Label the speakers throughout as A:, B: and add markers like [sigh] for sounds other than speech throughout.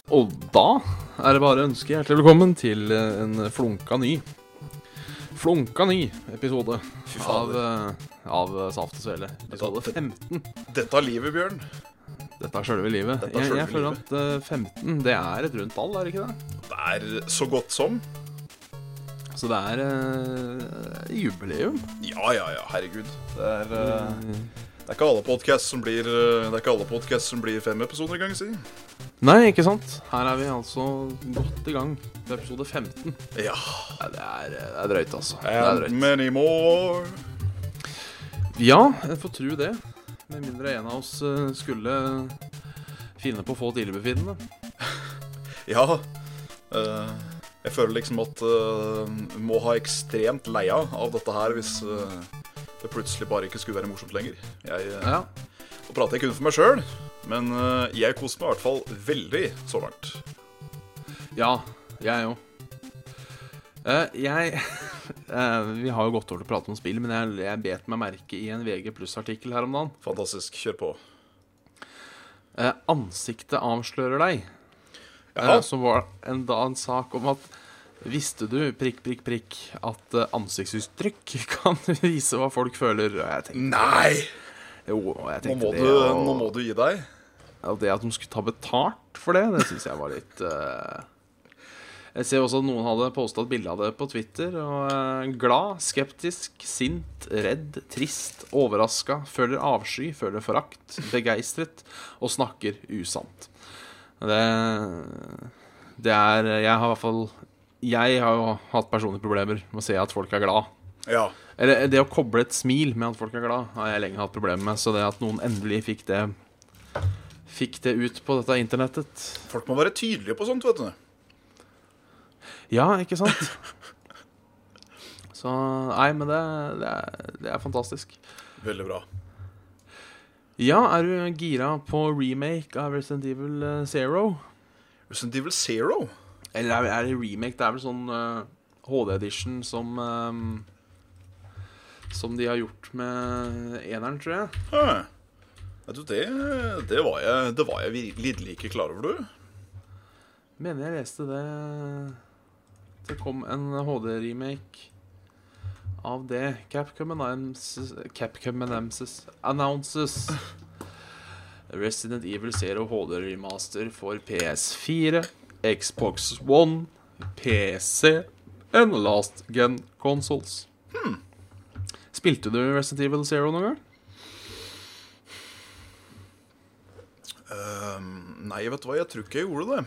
A: da er det bare å ønske hjertelig velkommen til eh, en flunka ny Flunka ny episode
B: Fy
A: av,
B: fader.
A: eh, av eh, Saft og Svele. Episode
B: Dette-
A: 15.
B: Dette er livet, Bjørn.
A: Dette er sjølve livet.
B: Dette er
A: Jeg, jeg
B: selve
A: føler at eh, 15 det er et rundt tall, er det ikke det?
B: Det er så godt som.
A: Så det er eh, jubileum.
B: Ja, ja, ja, herregud. Det er, eh, det er ikke alle podcasts som blir eh, Det er ikke alle podcasts som blir fem episoder engang, si.
A: Nei, ikke sant? Her er vi altså godt i gang med episode 15.
B: Ja.
A: Nei, det er, eh, det er drøyt, altså. Det er
B: And
A: drøyt.
B: many more.
A: Ja, jeg får tro det. Med mindre en av oss eh, skulle finne på å få et illebefinnende.
B: Ja. eh, jeg føler liksom at eh, må ha ekstremt leia av dette her hvis eh, det plutselig bare ikke skulle være morsomt lenger. Jeg eh,
A: Ja.
B: Nå prater jeg kun for meg sjøl, men eh, jeg koser meg i hvert fall veldig så langt.
A: ja jeg òg. Eh, jeg [laughs] eh, Vi har jo gått over til å prate om spill, men jeg, jeg bet meg merke i en VG pluss-artikkel her om dagen.
B: Fantastisk. Kjør på.
A: Eh, 'Ansiktet avslører deg'.
B: Ja.
A: Eh, som var en, da en sak om at Visste du prikk, prikk, prikk at eh, ansiktsuttrykk [laughs] kan vise hva folk føler? Og jeg tenkte,
B: Nei!
A: jo, og jeg
B: Nå
A: tenkte
B: må,
A: det,
B: du,
A: og...
B: nå må du gi deg.
A: Ja, det at de skulle ta betalt for det, det syns jeg var litt eh, Jeg ser også at noen hadde posta et bilde av det på Twitter. Og eh, glad, skeptisk, sint, redd, trist, overraska, føler avsky, føler forakt, begeistret og snakker usant. Det, det er Jeg har i hvert fall Jeg har jo hatt personlige problemer med å se at folk er glad.
B: Ja.
A: Eller det å koble et smil med at folk er glad, har jeg lenge hatt problemer med. Så det at noen endelig fikk det Fikk det ut på dette internettet
B: Folk må være tydelige på sånt, vet du.
A: Ja, ikke sant? [laughs] Så Nei, men det, det, er, det er fantastisk.
B: Veldig bra.
A: Ja, er du gira på remake av Resident Evil eh, Zero?
B: Resident Evil Zero?
A: Eller er, er det remake? Det er vel sånn eh, HD-edition som eh, Som de har gjort med eneren, tror jeg.
B: Hæ. Vet du, det, det, var jeg, det var jeg vir- lidderlig ikke klar over, du.
A: Mener jeg leste det Det kom en HD-remake av det. Capcom announces, Capcom announces, announces Resident Evil Zero HD-remaster for PS4, Xbox One, PC and last gen consoles. Spilte du Resident Evil Zero noen gang?
B: Ehm, nei, vet du hva, jeg tror ikke jeg gjorde det.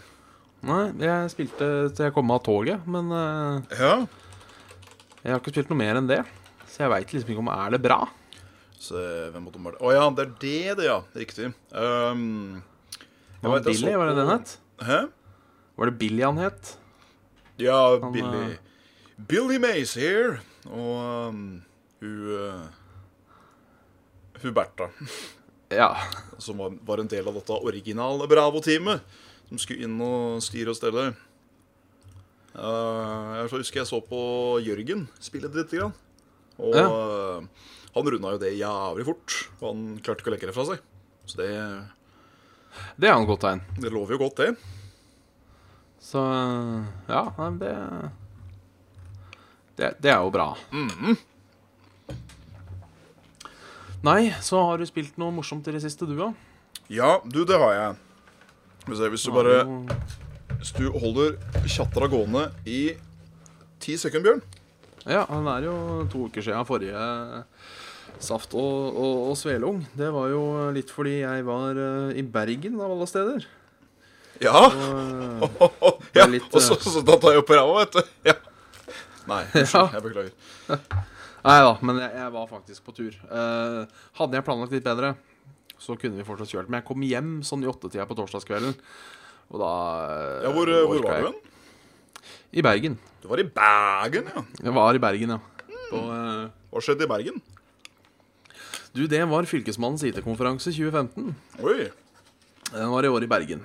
A: Nei, jeg spilte til jeg kom av toget, men eh,
B: Ja.
A: jeg har ikke spilt noe mer enn det. Så jeg veit liksom ikke om er det bra.
B: Så eh, hvem måtte Å ja, det er det, det, ja. Riktig. Ehm,
A: Var
B: vet
A: det
B: jeg så
A: Billy, var det
B: på-
A: den het?
B: Hæ?
A: Var det Billy han het?
B: Ja,
A: Han,
B: Billy
A: eh,
B: Billy Mays here. Og ehm, hun eh, Hun Bertha.
A: Ja.
B: som var, var en del av dette originale Bravo-teamet, som skulle inn og styre og stelle. Eh, jeg så- husker jeg så på Jørgen spille det lite grann. Og eh, han runda jo det jævlig fort. Og han klarte ikke å legge det fra seg. Så det,
A: Det er jo et godt tegn.
B: det lover jo godt, det.
A: Så ja, nei, men det det, det er jo bra. Mhm. Nei, så har du spilt noe morsomt i det siste, du òg?
B: Ja, du, det har jeg. Skal vi se, hvis du bare Hvis du holder chattera gående i ti sekunder, Bjørn
A: Ja, han er jo to uker siden forrige Saft og, og, og Svelung. Det var jo litt fordi jeg var eh, i Bergen, av alle steder.
B: Ja!
A: Og, det
B: [laughs] ja.
A: er litt,
B: og så,
A: eh,
B: så da tar jeg opp på ræva, vet du. Ja. Nei,
A: [laughs]
B: unnskyld. Jeg beklager.
A: Nei da, men jeg, jeg var faktisk på tur. Eh, hadde jeg planlagt litt bedre, så kunne vi fortsatt kjørt. Men jeg kom hjem sånn i åttetida på torsdagskvelden, og da eh,
B: Ja, hvor,
A: orka
B: hvor var
A: jeg ikke.
B: du hen?
A: I Bergen.
B: Du var i Bergen, ja.
A: Jeg var i Bergen, ja.
B: Mm.
A: På, eh,
B: Hva skjedde i Bergen?
A: du, det var Fylkesmannens IT-konferanse 2015.
B: Oi.
A: Den var i år i Bergen.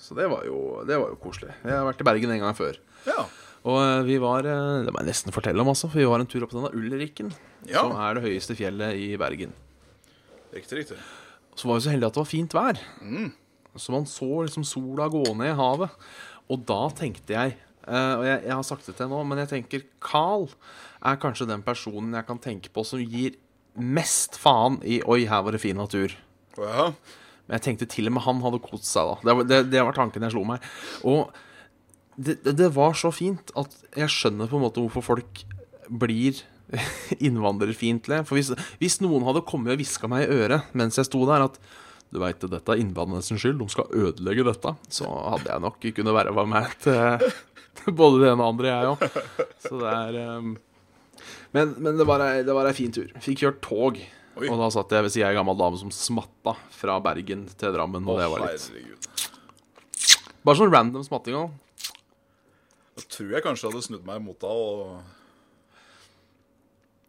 A: Så det var jo, det var jo koselig. Jeg har vært i Bergen en gang før.
B: Ja.
A: Og eh, vi var eh, Det må jeg nesten fortelle om, altså. For vi var en tur opp til denne Ulrikken,
B: Ja.
A: som er det høyeste fjellet i Bergen.
B: Riktig, riktig.
A: Så var vi så heldige at det var fint vær. Så man så liksom sola gå ned i havet. Og da tenkte jeg eh, Og jeg, jeg har sagt det til nå, men jeg tenker Carl er kanskje den personen jeg kan tenke på som gir mest faen i 'oi, her var det fin natur'.
B: Å ja.
A: Men jeg tenkte til og med han hadde kost seg da. Det var, det, det var tanken jeg slo meg. Og det, det, det var så fint at jeg skjønner på en måte hvorfor folk blir [laughs] innvandrerfiendtlige. For hvis, hvis noen hadde kommet og hviska meg i øret mens jeg sto der at du veit det, dette er innvandrernes skyld, de skal ødelegge dette, så hadde jeg nok kunne verva meg til til både det ene og det andre, jeg òg. Så det er ehm, Men, men det, var ei, det var ei fin tur. Fikk kjørt tog.
B: Oi.
A: Og da satt jeg ved sida av ei gammel dame som smatta fra Bergen til Drammen. Og det var litt
B: herregud.
A: Bare sånn random smatting òg.
B: Da tror jeg kanskje jeg hadde snudd meg mot deg og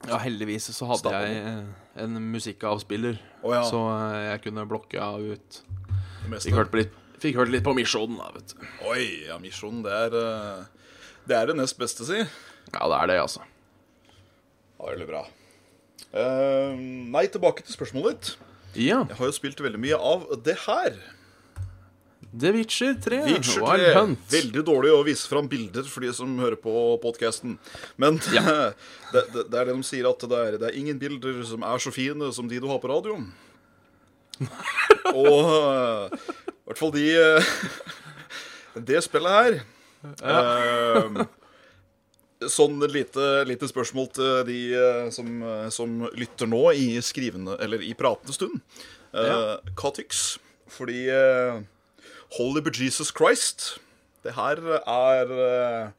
A: Ja, heldigvis så hadde
B: Stappen.
A: jeg eh, en musikkavspiller,
B: Å ja,
A: så eh, jeg kunne blokke av ut.
B: det meste.
A: Fikk hørt på litt, fikk hørt litt på Misjonen, da, vet du.
B: Oi, ja, Misjon, det er eh, Det er det nest beste, si. Ja,
A: Ja, det er det, altså.
B: Veldig bra. Eh, nei, tilbake til spørsmålet ditt.
A: Ja.
B: Jeg har jo spilt veldig mye av det her.
A: The Witcher 3.
B: Witcher
A: Wild
B: 3.
A: Hunt.
B: Veldig dårlig å vise fram bilder for de som hører på podkasten. Men [laughs] det, det, det er det de sier, at det er, det er ingen bilder som er så fine som de du har på radioen. Og eh, i hvert fall de eh, [laughs] Det spillet her eh, Sånn et lite, lite spørsmål til de eh, som, eh, som lytter nå i skrivende, eller i pratende stund. Eh,
A: Ja.
B: Hva tyks? Fordi eh, Holy Jesus Christ. Det her er eh,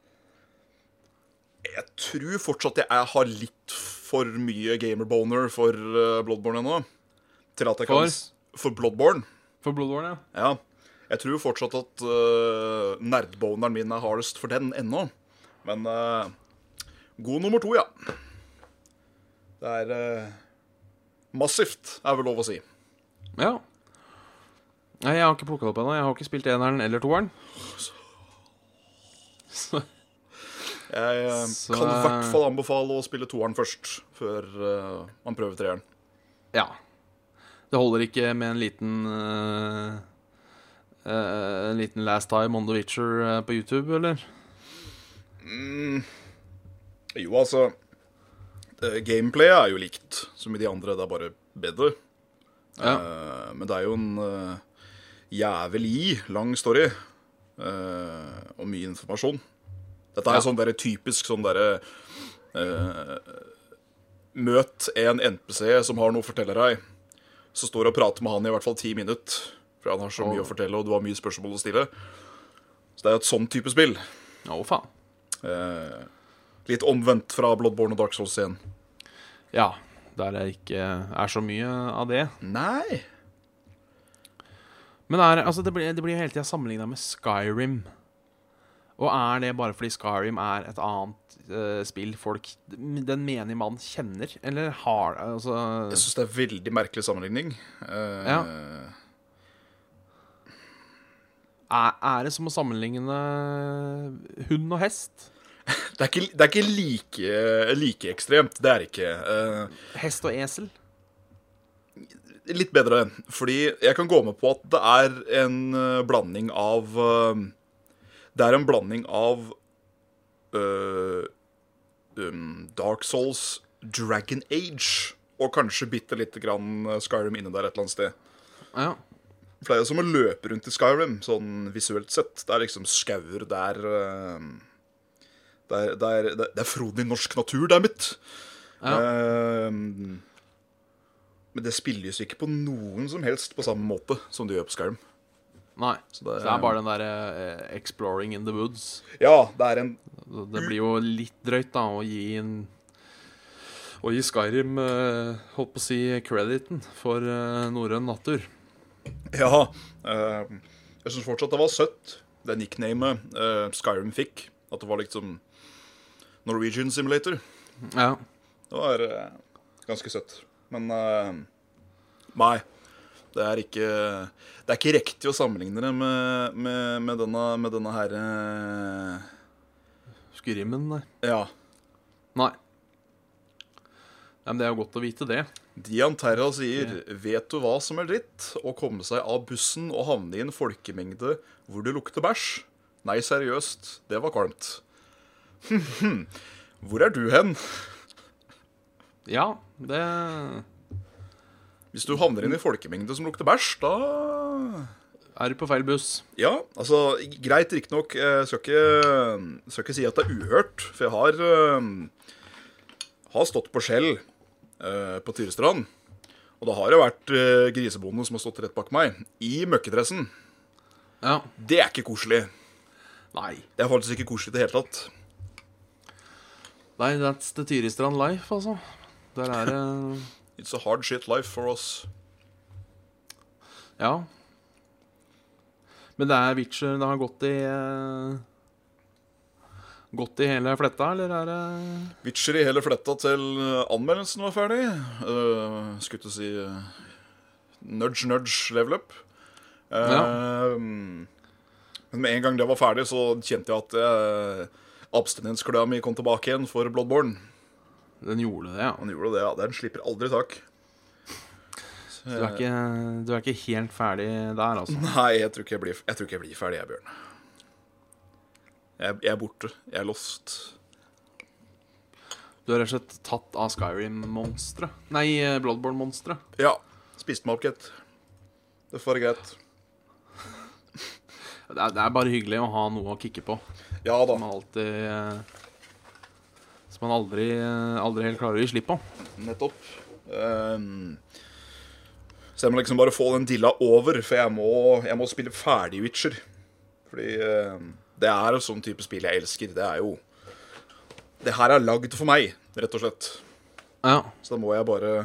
B: Jeg tror fortsatt jeg er- har litt for mye gamerboner for eh, Bloodborne ennå. Til at jeg
A: For?
B: kan s- For Bloodborne.
A: For Bloodborne, ja.
B: Ja. Jeg tror fortsatt at eh, nerdboneren min er hardest for den ennå. Men eh, god nummer to, ja. Det er eh, massivt, er vel lov å si.
A: Ja. Nei, jeg har ikke plukka det opp ennå. Jeg har ikke spilt eneren eller toeren. Så
B: Jeg eh,
A: Så-
B: kan i hvert fall anbefale å spille toeren først, før eh, man prøver treeren.
A: ja. Det holder ikke med en liten eh, eh, En liten Last Time on The Witcher eh, på YouTube, eller?
B: Mm. Jo, altså eh, Gameplayet er jo likt som i de andre, det er bare bedre.
A: Ja.
B: Eh, men det er jo en eh, jævlig lang story eh, og mye informasjon. Dette er
A: Ja.
B: sånn der typisk sånn derre eh, Møt en NPC som har noe å fortelle deg, så står og prater med han i hvert fall ti minutter. For han har så mye å fortelle, og du har mye spørsmål å stille. Så det er jo et sånn type spill.
A: Å, faen.
B: Eh, litt omvendt fra Bloodborne og Dark Souls igjen.
A: Ja. Der det ikke er så mye av det.
B: Nei.
A: Men er, altså, det blir, det blir hele tida sammenligna med Skyrim. Og er det bare fordi Skyrim er et annet eh, spill folk Den menige mann kjenner? Eller har altså,
B: Jeg syns det er veldig merkelig sammenligning. Eh,
A: Ja. er, er det som å sammenligne hund og hest?
B: det, er ikke, det er ikke like, like ekstremt. Det er det ikke. Eh,
A: Hest og esel?
B: litt bedre, fordi jeg kan gå med på at det er en eh, blanding av eh, Det er en blanding av eh, um, Dark Souls, Dragon Age og kanskje bitte lite grann Skyrim inne der et eller annet sted.
A: Ja.
B: For det er jo som å løpe rundt i Skyrim, sånn visuelt sett. Det er liksom skauer, det er eh, Det er, det er, det er frodig norsk natur, dammit.
A: Ja.
B: Eh, men det spilles jo ikke på noen som helst på samme måte som det gjør på Skyrim.
A: Nei.
B: Så
A: Så
B: det
A: det
B: er-
A: er, bare den derre eh, 'exploring in the woods'.
B: Ja, det er en
A: Det blir jo litt drøyt, da, å gi en Å gi Skyrim, eh, holdt på å si, crediten for eh, norrøn natur.
B: Ja. eh, jeg syns fortsatt det var søtt, det nicknamet eh, Skyrim fikk. At det var liksom Norwegian Simulator.
A: Ja.
B: Det var eh, ganske søtt. Men eh, nei. Det er ikke Det er ikke riktig å sammenligne det med, med, med denne, med denne her eh,
A: Skyrimmen, nei.
B: Ja.
A: Nei. Nei, men Det er jo godt å vite det.
B: Dian Terra sier 'Vet du hva som er dritt? Å komme seg av bussen og havne i en folkemengde hvor det lukter bæsj'. Nei, seriøst, det var kvalmt. [laughs] Hvor er du hen?
A: Ja, det
B: Hvis du havner inn i folkemengde som lukter bæsj, da
A: er du på feil buss.
B: Ja, altså, greit riktignok. Jeg skal ikke, skal ikke si at det er uhørt, for jeg har, eh, har stått på skjell eh, på Tyrestrand. Og da har det vært eh, grisebonde som har stått rett bak meg, i møkkedressen.
A: Ja.
B: Det er ikke koselig.
A: Nei.
B: Det er faktisk ikke koselig i det hele tatt.
A: Nei, that's the Tyristrand life, altså. Der er det [laughs]
B: It's a hard shit life for us.
A: Ja. Men det er Witcher det har gått i eh, Gått i hele fletta, eller er det
B: Witcher i hele fletta til eh, anmeldelsen var ferdig. Uh, skulle til å si eh, nudge, nudge, level up. Eh,
A: Ja.
B: Men med en gang det var ferdig, så kjente jeg at uh, abstinenskløa mi kom tilbake igjen for Bloodborne.
A: Den gjorde det, ja.
B: Han gjorde det, ja. Den slipper aldri tak. Så
A: Du er
B: jeg-
A: ikke, du er ikke helt ferdig der, altså.
B: Eh, Nei, jeg tror ikke jeg blir, jeg tror ikke jeg blir ferdig, jeg, Bjørn. Jeg, jeg er borte. Jeg er lost.
A: Du er rett og slett tatt av Skyrim-monstre. Nei, eh, Bloodborne-monstre.
B: Ja. Spiste meg opp, gitt. Det får være greit.
A: Det, er- det er bare hyggelig å ha noe å kikke på.
B: Ja da.
A: Som man alltid eh, Som man aldri, eh, aldri helt klarer å gi slipp på.
B: Nettopp. Ehm, så jeg må liksom bare få den dilla over, for jeg må, jeg må spille ferdig Witcher. Fordi ehm, det er en sånn type spill jeg elsker. Det er jo Det her er lagd for meg, rett og slett.
A: Ja.
B: Så da må jeg bare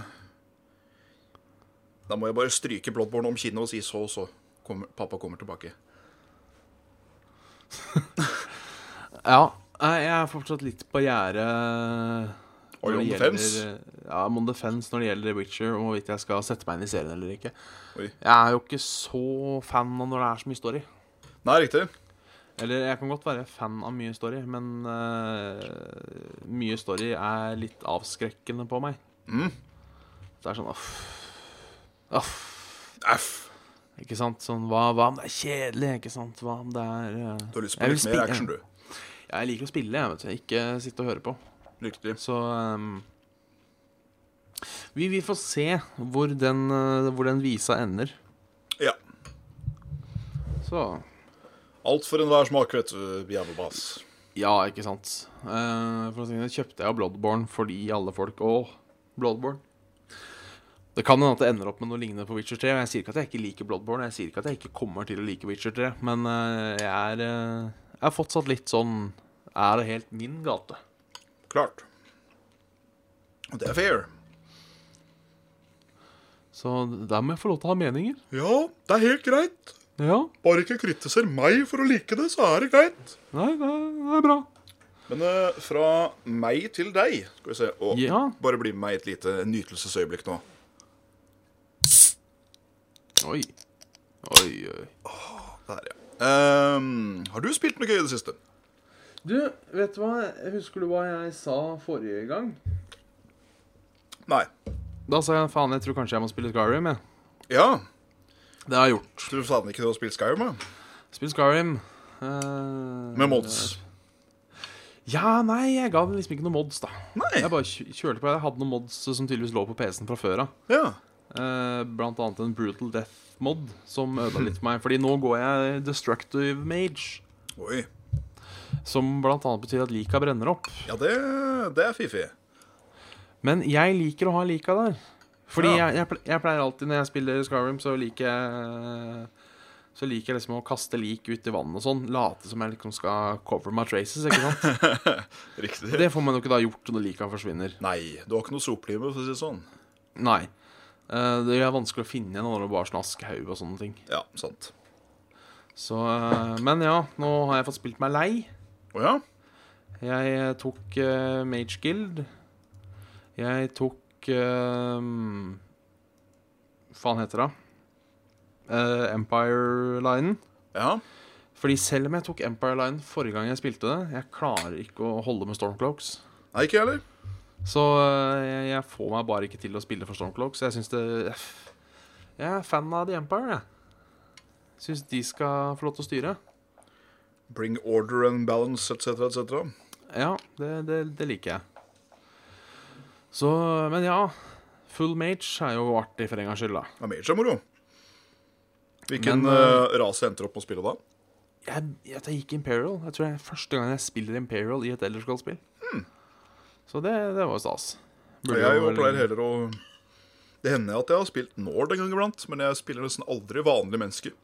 B: Da må jeg bare stryke Bloodborne om kinnet og si så og så. Kommer, pappa kommer tilbake.
A: ja. Nei, Jeg er fortsatt litt på gjerdet
B: Are you
A: når
B: on
A: det
B: the fence?
A: gjelder- eh, Ja, I'm on the fence når det gjelder Witcher, og hvorvidt jeg skal sette meg inn i serien eller ikke.
B: Oi.
A: Jeg er jo ikke så fan av når det er så mye story.
B: Nei, riktig.
A: Eller jeg kan godt være fan av mye story, men eh, mye story er litt avskrekkende på meg.
B: Mm.
A: Det er sånn aff. Aff.
B: Æff.
A: Ikke sant? Sånn, hva, hva om det er kjedelig? Ikke sant? Hva om det er eh,
B: Du har
A: jeg
B: lyst på
A: vil
B: litt mer
A: spille-
B: action, du.
A: Ja, Jeg liker å spille, jeg, vet du. Ikke sitte og høre på.
B: Riktig.
A: Så ehm, vi, vi får se hvor den, eh, hvor den visa ender.
B: Ja.
A: Så
B: Alt for enhver smak, vet du, jævla bass.
A: Ja, ikke sant. Eh, for å si det, kjøpte jeg Bloodborne fordi alle folk Å, Bloodborne. Det kan hende at det ender opp med noe lignende på Witcher 3. Og jeg sier ikke at jeg ikke liker Bloodborne, jeg sier ikke at jeg ikke kommer til å like Witcher 3, men eh, jeg er eh, Jeg er fortsatt litt sånn Er det helt min gate?
B: Klart. Og det er fair.
A: Så der må jeg få lov til å ha meninger.
B: Ja, det er helt greit.
A: Ja.
B: Bare ikke kritiser meg for å like det, så er det greit.
A: Nei, det er, det er bra.
B: Men eh, fra meg til deg Skal vi se. Å,
A: Ja.
B: Bare bli med meg i et lite nytelsesøyeblikk nå.
A: Oi. Oi, oi.
B: Der, ja. Ehm, har du spilt noe gøy i det siste?
A: Du, vet du hva? Husker du hva jeg sa forrige gang?
B: Nei.
A: Da sa jeg faen, jeg tror kanskje jeg må spille Skyrim, jeg.
B: Ja.
A: Det har jeg gjort.
B: Du savner ikke det å spille Skyrim? da?
A: Spill Skyrim. eh,
B: Med mods?
A: Ja, nei, jeg ga den liksom ikke noe mods, da.
B: Nei.
A: Jeg bare kjø- kjørte på. Jeg hadde noen mods som tydeligvis lå på PC-en fra før av.
B: Ja.
A: Eh, blant annet en Brutal Death-mod som ødela litt for meg. Fordi nå går jeg Destructive Mage,
B: Oi.
A: som blant annet betyr at lika brenner opp.
B: Ja, det, det er fiffig.
A: Men jeg liker å ha lika der. Fordi
B: Ja.
A: jeg, jeg, ple- jeg pleier alltid når jeg spiller Skyrim, så liker jeg Så liker jeg liksom å kaste lik ut i vannet og sånn. Late som jeg liksom skal cover my traces, ikke
B: [laughs]
A: sant.
B: Riktig.
A: Det får man jo ikke da gjort når lika forsvinner.
B: Nei, du har ikke noe soplime, for å si det sånn.
A: Nei. Eh, Det er vanskelig å finne igjen når det bare er sånn askehaug og sånne ting.
B: Ja, sant.
A: Så, eh, men ja, nå har jeg fått spilt meg lei.
B: Å ja?
A: Jeg eh, tok eh, Mage Guild. Jeg tok eh, Faen heter det? Eh, Empire Line.
B: Ja.
A: Fordi selv om jeg tok Empire Line forrige gang jeg spilte det, jeg klarer ikke å holde med Stormcloaks.
B: Nei, ikke jeg heller.
A: Så øh, jeg, jeg får meg bare ikke til å spille for Stormcloak, så jeg syns det Jeg er fan av The Empire, jeg. Syns de skal få lov til å styre.
B: Bring order and balance, etc., etc.
A: Ja, det, det, det liker jeg. Så, men ja. Full mage er jo artig for en gangs skyld, da.
B: Ja, Mage er moro. Hvilken
A: Men,
B: eh, rase endte opp med å spille da?
A: Jeg, jeg, jeg gikk Imperial. Jeg tror det er første gang jeg spiller Imperial i et Elderskall-spill. Så det, det var jo stas.
B: Og Hmm. Jeg jo pleier heller å Det hender at jeg har spilt Nord en gang iblant, men jeg spiller nesten aldri vanlige mennesker.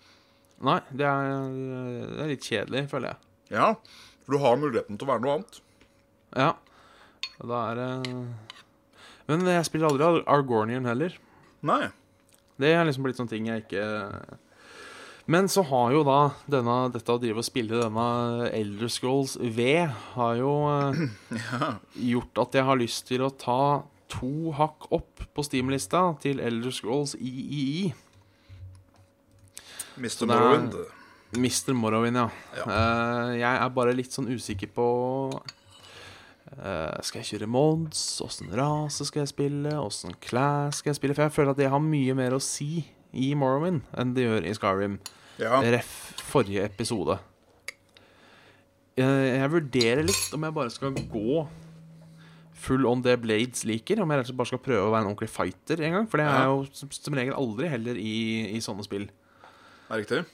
A: Nei, det er, det er litt kjedelig, føler jeg.
B: Ja, for du har muligheten til å være noe annet.
A: Ja. Og Da er det Men jeg spiller aldri Ar- Argonian heller.
B: Nei.
A: Det er liksom blitt sånn ting jeg ikke Men så har jo da denne, dette å drive og spille denne Elder Scrolls V har jo eh, gjort at jeg har lyst til å ta to hakk opp på Steam-lista til Elder Scrolls III.
B: Mr.
A: Så det er-
B: Morrowind.
A: Mr. Morrowind, ja. Eh, jeg er bare litt sånn usikker på eh, Skal jeg kjøre mods? Åssen rase skal jeg spille? Åssen klær skal jeg spille? For jeg føler at det har mye mer å si i Morrowind enn det gjør i Skyrim.
B: Ja.
A: Ref forrige episode. Jeg, jeg vurderer litt om jeg bare skal gå full on det Blades liker. Om jeg rett og slett bare skal prøve å være en ordentlig fighter en gang. For det er
B: Ja.
A: jeg jo som- som regel aldri heller i, i sånne spill.
B: Er riktig.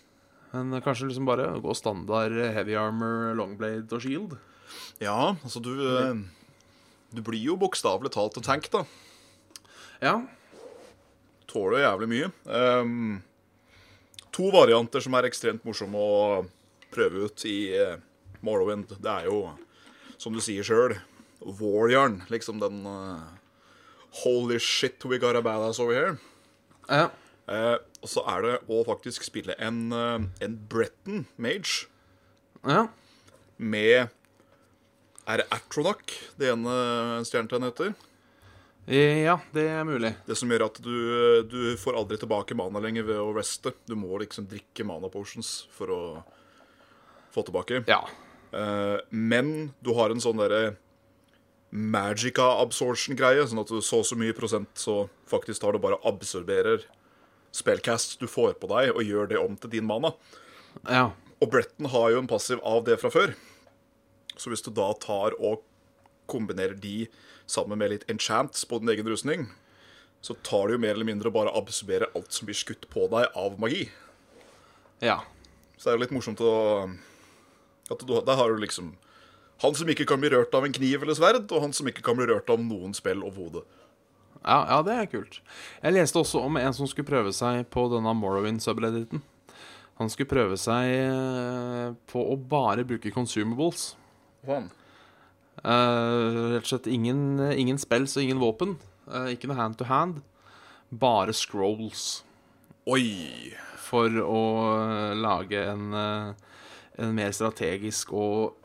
A: Men kanskje liksom bare gå standard heavy armor, longblade og shield.
B: Ja, altså du eh, Du blir jo bokstavelig talt en tank, da.
A: Ja.
B: Tåler jævlig mye. Ehm, to varianter som er ekstremt morsomme å prøve ut i eh, Morrowind. Det er jo, som du sier sjøl, Warjern. Liksom den eh, Holy shit, we got a badass over here.
A: ja.
B: Eh, og så er det å faktisk spille en, eh, en Breton mage
A: Ja.
B: med Er det Atronac det ene stjernetegnet heter?
A: Ja, det er mulig.
B: Det som gjør at du, du får aldri tilbake mana lenger ved å reste. Du må liksom drikke mana potions for å få tilbake.
A: Ja.
B: Eh, men du har en sånn derre magica absorption-greie, sånn at du så så mye prosent, så faktisk tar du bare og absorberer spellcast du får på deg, og gjør det om til din mana.
A: Ja.
B: Og Bretton har jo en passiv av det fra før. Så hvis du da tar og kombinerer de sammen med litt enchants på din egen rustning, så tar du jo mer eller mindre bare å absorbere alt som blir skutt på deg av magi.
A: Ja.
B: Så det er jo litt morsomt å at du, Der har du liksom han som ikke kan bli rørt av en kniv eller sverd, og han som ikke kan bli rørt av noen spill overhodet.
A: Ja, ja, det er kult. Jeg leste også om en som skulle prøve seg på denne Morrowind-subredditen. Han skulle prøve seg eh, på å bare bruke consumables.
B: Faen.
A: Eh, rett og slett ingen, ingen spells og ingen våpen. Eh, ikke noe hand to hand. Bare scrolls.
B: Oi.
A: for å eh, lage en, eh, en mer strategisk og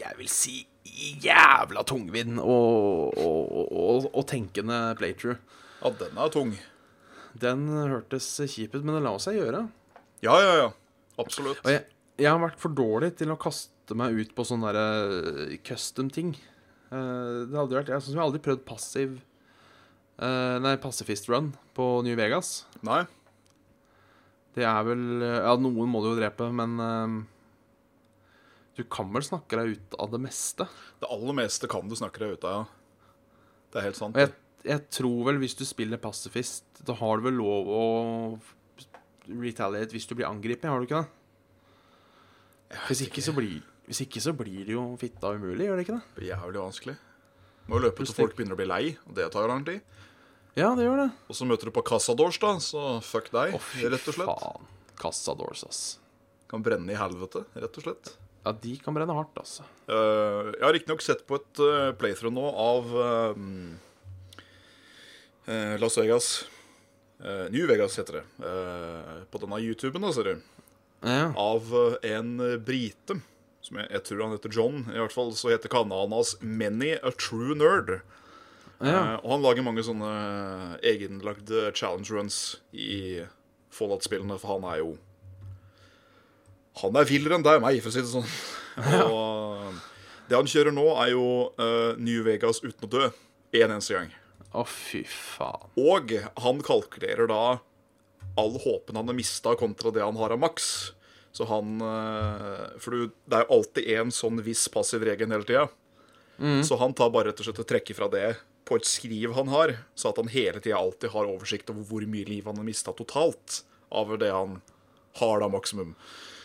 A: jeg vil si jævla tungvinn og, og, og, og tenkende playthrough.
B: Ja, den er tung.
A: Den hørtes kjip ut, men det lar seg gjøre.
B: Ja, ja, ja. Absolutt.
A: Og jeg, jeg har vært for dårlig til å kaste meg ut på sånne der, eh, custom-ting. Eh, Det hadde vært, Jeg synes jeg har aldri prøvd passiv eh, Nei, pacifist run på New Vegas.
B: Nei.
A: Det er vel eh, Ja, noen må du jo drepe, men ehm, Du kan vel snakke deg ut av det meste?
B: Det aller meste kan du snakke deg ut av, ja. Det er helt sant.
A: Og jeg, jeg tror vel hvis du spiller pasifist, da har du vel lov å retaliate hvis du blir angrepet, har du ikke det? Hvis ikke så blir, hvis ikke så blir det jo fitta umulig, gjør det ikke det?
B: Det blir jævlig vanskelig. Må jo løpe til folk begynner å bli lei, og det tar jo lang tid.
A: Ja, det gjør det.
B: Og så møter du på Cassadors, da, så fuck deg,
A: Å, fy
B: rett og slett.
A: faen. Cassadors, ass.
B: Kan brenne i helvete, rett og slett.
A: Ja, de kan brenne hardt, altså.
B: Eh, jeg har riktignok sett på et eh, playthrough nå av eh, eh, Las Vegas. Eh, New Vegas heter det. Eh, på denne YouTuben, da, ser du.
A: Ja.
B: Av eh, en eh, brite. Som jeg, jeg tror han heter John. I hvert fall så heter kanalen hans Many a True Nerd.
A: ja.
B: Eh, og han lager mange sånne eh, egenlagde challenge runs i Fallout-spillene, for han er jo Han er villere enn deg og meg, for å si det sånn. Og eh, det han kjører nå, er jo eh, New Vegas uten å dø én eneste gang.
A: Å, fy faen.
B: Og han kalkulerer da all håpen han har mista, kontra det han har av maks. Så han eh, For du, det er jo alltid en sånn viss passiv regel hele tida. Så han tar bare rett og slett og trekker fra det på et skriv han har, så at han hele tida alltid har oversikt over hvor mye liv han har mista totalt av det han har da maksimum.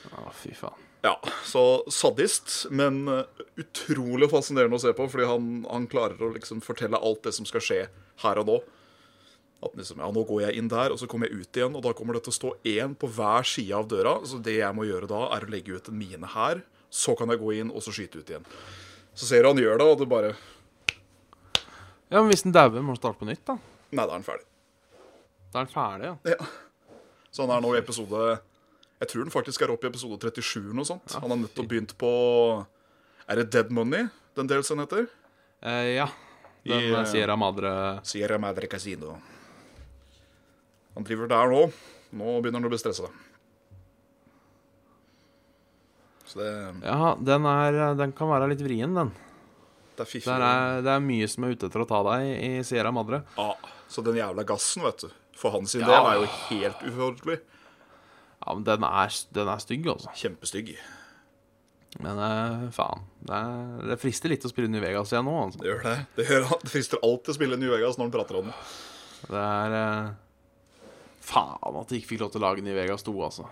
A: Å, fy faen.
B: Ja, så sadist, men eh, utrolig fascinerende å se på, fordi han, han klarer å liksom fortelle alt det som skal skje her og nå. At liksom, ja, nå går jeg inn der, og så kommer jeg ut igjen, og da kommer det til å stå én på hver side av døra, så det jeg må gjøre da, er å legge ut en mine her, så kan jeg gå inn, og så skyte ut igjen. Så ser du han gjør det, og det bare
A: Ja, men hvis den dauer, må den starte på nytt, da.
B: Nei, da er han ferdig.
A: Da er den ferdig, ja.
B: Ja. Så han er nå i episode Jeg tror den faktisk er oppe i episode 37 eller noe sånt. Han har nettopp begynt på Er det Dead Money, den delsen heter?
A: Eh, ja. Den
B: Ja.
A: yeah. Sierra Madre
B: Sierra Madre Casino. Han driver der nå. Nå begynner han å bli stressa. Så det,
A: Ja, den, er, eh, den kan være litt vrien, den.
B: det er fiffig.
A: Der er, det er mye som er ute etter å ta deg i Sierra Madre.
B: Ja, så den jævla gassen, vet du. For hans sin
A: Ja.
B: del er jo helt uforholdelig.
A: Ja, men den er, den er stygg, altså.
B: Kjempestygg.
A: Men eh, faen. Det, er, det frister litt å spille New Vegas igjen nå, altså.
B: Det gjør det. Det, gjør han. det frister alltid å spille New Vegas når han prater om det.
A: Det er eh, Faen at de ikke fikk lov til å lage New Vegas 2, altså.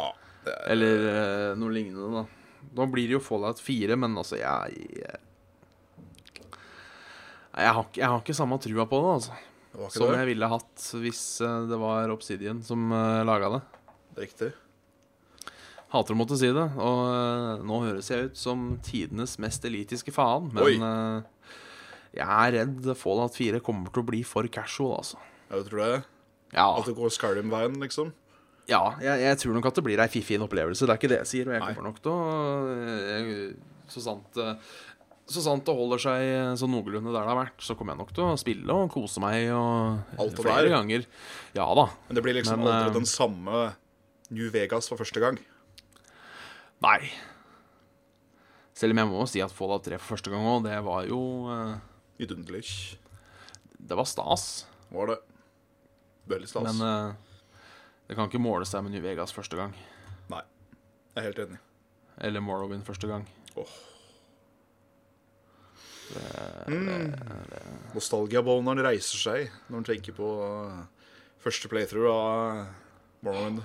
B: Ja, det er,
A: Eller eh, noe lignende, da. Nå blir det jo Fallout 4, men altså, jeg Jeg, jeg, har, ikke, jeg har ikke samme trua på det, altså.
B: det var ikke
A: Som
B: det.
A: jeg ville hatt hvis eh, det var Obsidian som uh, laga det.
B: Riktig.
A: Hater å måtte si det. Og eh, nå høres jeg ut som tidenes mest elitiske faen, men eh, jeg er redd Fallout 4 kommer til å bli for casual, altså.
B: Ja, du tror det?
A: Ja,
B: At det går Skyrim-veien, liksom?
A: ja jeg, jeg tror nok at det blir ei fiffig opplevelse. Det er ikke det jeg sier. Og jeg
B: Nei.
A: kommer nok til å eh, jeg- Så sant eh, så sant det holder seg eh, så noenlunde der det har vært, så kommer jeg nok til å spille og kose meg og
B: Alt det
A: flere
B: der.
A: ganger. Ja da.
B: Men det blir liksom
A: Men, eh,
B: aldri den samme New Vegas for første gang.
A: Nei. Selv om jeg må si at Fallout 3 for første gang òg, det var jo eh,
B: Vidunderlig.
A: Det var stas.
B: Var det. Veldig stas.
A: Men eh, det kan ikke måle seg med New Vegas første gang.
B: Nei. Jeg er helt enig.
A: Eller Morrowind første gang.
B: Nostalgiaboneren reiser seg når han tenker på eh, første playthrough av eh, Morrowind.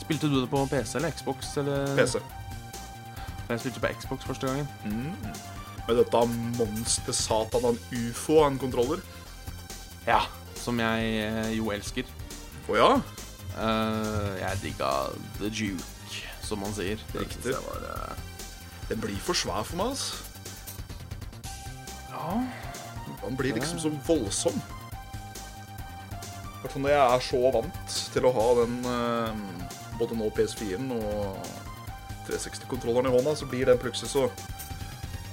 A: Spilte du det på PC eller Xbox? Eller?
B: PC.
A: Jeg spilte på Xbox første gangen.
B: Med dette monster-satan av en ufo av en kontroller.
A: Ja. Som jeg eh, jo elsker.
B: Å ja?
A: Eh, jeg digga The Duke, som man sier. Det
B: Riktig.
A: synes jeg var eh,
B: Den blir for svær for meg, altså.
A: Ja.
B: Han blir liksom så voldsom. Hvert fall når jeg er så vant til å ha den eh, både nå PS4-en og 360-kontrolleren i hånda, så blir den plutselig så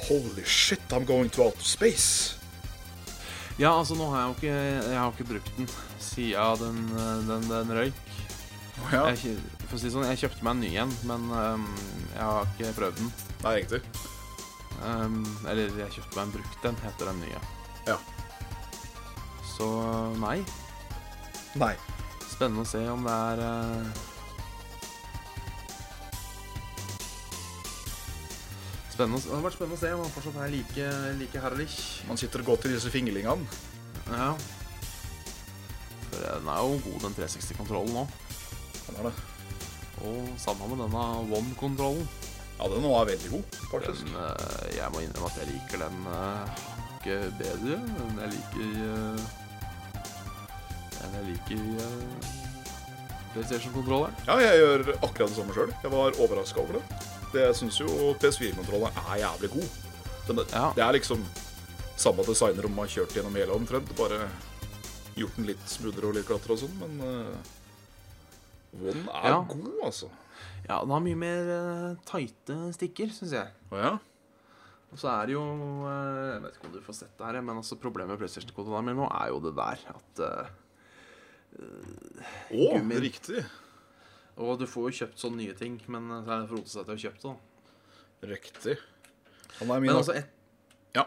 B: Holy shit, I'm going to outer space.
A: Ja, altså, nå har jeg jo ikke, jeg har ikke brukt den siden den, eh, den, den røyk.
B: Å ja.
A: Jeg, kj- for å si det sånn, jeg kjøpte meg en ny en, men ehm, jeg har ikke prøvd den.
B: Nei, riktig.
A: Ehm, eller jeg kjøpte meg en brukt en, heter den nye.
B: Ja.
A: Så nei.
B: Nei.
A: Spennende å se om det er eh, Spennende, å s- det hadde vært spennende å se om han fortsatt er like, like herlig.
B: Man sitter godt i disse finglingene.
A: Ja. For eh, den er jo god, den 360-kontrollen òg.
B: Den er det.
A: Og sammen med denne One-kontrollen.
B: Ja, den nå er veldig god, faktisk.
A: Den, eh, jeg må innrømme at jeg liker den eh, ikke bedre, men jeg liker eh, enn jeg liker eh, PlayStation-kontrolleren.
B: Ja, jeg gjør akkurat det samme sjøl. Jeg var overraska over det. Det Jeg syns jo PS4-kontrollene er jævlig god. Den,
A: Ja.
B: Det er liksom samme designer om man har kjørt gjennom hele omtrent. Bare gjort den litt smoothere og litt glattere og sånn, men eh, One er
A: Ja.
B: god, altså.
A: Ja, den har mye mer uh, tighte stikker, syns jeg.
B: Å ja?
A: Og så er det jo eh, Jeg vet ikke om du får sett det her, men altså problemet med PlayStation-kontrolleren min nå er jo det der at eh,
B: Å,
A: Gummin.
B: riktig.
A: Og du får jo kjøpt sånne nye ting, men eh, så er det Frode seg til å kjøpe sånn. det, da.
B: Riktig. Han er min
A: Men altså et...
B: Ja.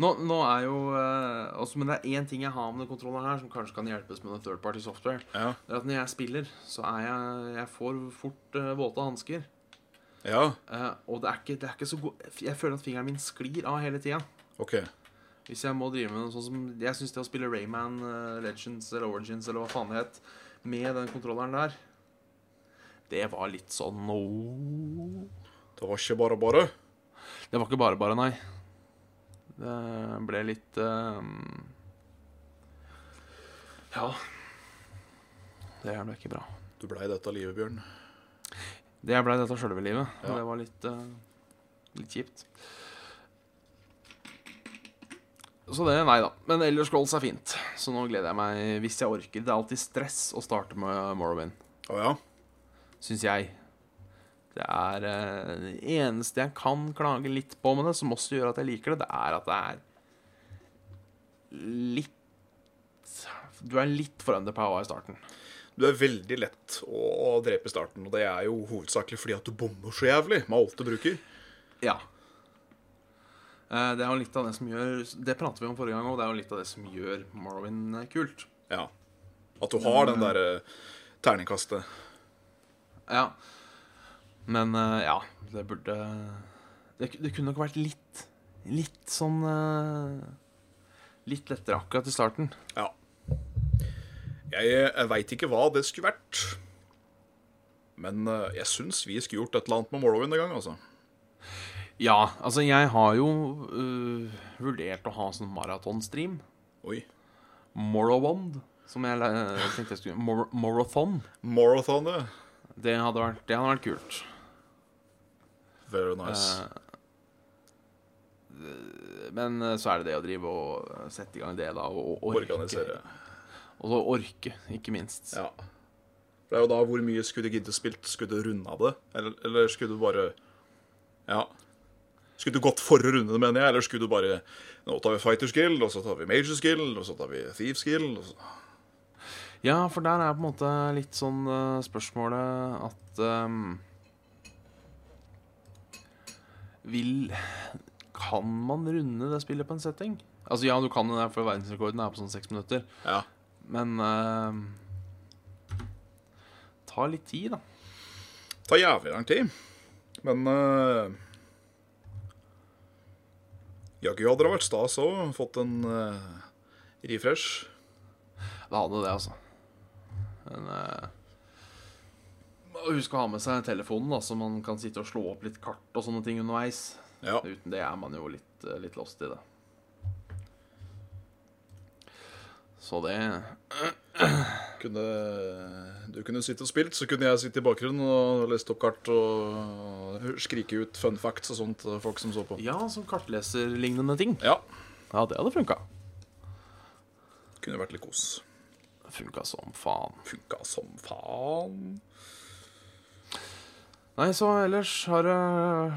A: Nå, nå er jo eh, altså, Men det er én ting jeg har med den kontrolleren her, som kanskje kan hjelpes med den third party software.
B: Ja.
A: Det er at når jeg spiller, så er jeg Jeg får fort eh, våte hansker.
B: ja.
A: Eh, og det er, ikke, det er ikke så god Jeg føler at fingeren min sklir av hele tida.
B: OK.
A: Hvis jeg må drive med noe sånn som Jeg syns det å spille Rayman eh, Legends eller Origins eller hva faen det het, med den kontrolleren der Det var litt sånn åh.
B: Det var ikke bare bare.
A: Det var ikke bare bare, nei. Det ble litt eh, Ja. Det er da ikke bra.
B: Du blei dette livet, Bjørn.
A: Det blei dette sjølve livet.
B: Ja.
A: Og det var litt, eh, litt kjipt. Så det, nei da. Men Elder Scrolls er fint. Så nå gleder jeg meg, hvis jeg orker. Det er alltid stress å starte med Morrowind,
B: Å ja?
A: syns jeg. Det er eh, det eneste jeg kan klage litt på med det, som også gjør at jeg liker det, det er at det er litt Du er litt for underpower i starten.
B: Du er veldig lett å drepe i starten, og det er jo hovedsakelig fordi at du bommer så jævlig med alt du bruker.
A: Ja. Eh, Det er jo litt av det som gjør Det pratet vi om forrige gang òg. Det er jo litt av det som gjør Morrowind eh, kult.
B: Ja. At du har den derre terningkastet.
A: Ja. Men eh, ja, det burde Det, ku- det kunne nok vært litt Litt sånn eh, Litt lettere akkurat i starten.
B: Ja. Jeg, jeg veit ikke hva det skulle vært. Men eh, jeg syns vi skulle gjort et eller annet med Morrowind en gang, altså.
A: Ja, altså, jeg har jo eh, vurdert å ha sånn maratonstream.
B: Oi.
A: Morrowind, som jeg eh, tenkte jeg skulle Mor Morothon.
B: Marathon, ja.
A: Det hadde vært, det hadde vært kult.
B: Very nice.
A: Men eh, så er det det å drive og eh, sette i gang det, da. Og, og orke.
B: Organisere.
A: Og så orke, ikke minst.
B: Ja. For det er jo da hvor mye skulle du gidde spilt? Skulle du runda det? Eller, eller skulle du bare Ja. Skulle du gått for å runde det, mener jeg? Eller skulle du bare Nå tar vi Fighters Guild, og så tar vi Majors Guild, og så tar vi Thieves Guild og så...
A: Ja, for der er på en måte litt sånn eh, spørsmålet at ehm, Vil Kan man runde det spillet på en setting? Altså ja, du kan det, der, for verdensrekorden er på sånn seks minutter.
B: Ja.
A: Men ehm, Ta litt tid, da.
B: tar jævlig lang tid. Men uh, Jaggu hadde det vært stas òg. Fått en eh, refresh.
A: Det hadde det, altså. Men eh, og Husk å ha med seg telefonen, da, så man kan sitte og slå opp litt kart og sånne ting underveis.
B: Ja.
A: Uten det er man jo litt, eh, litt lost i det. Så det
B: Kunne, du kunne sitte og spilt, så kunne jeg sitte i bakgrunnen og leste opp kart og skrike ut fun facts og sånt til folk som så på.
A: Ja, som kartleserlignende ting.
B: Ja.
A: Ja, det hadde funka.
B: Kunne vært litt kos.
A: Funka som faen.
B: Funka som faen.
A: Nei, så ellers har det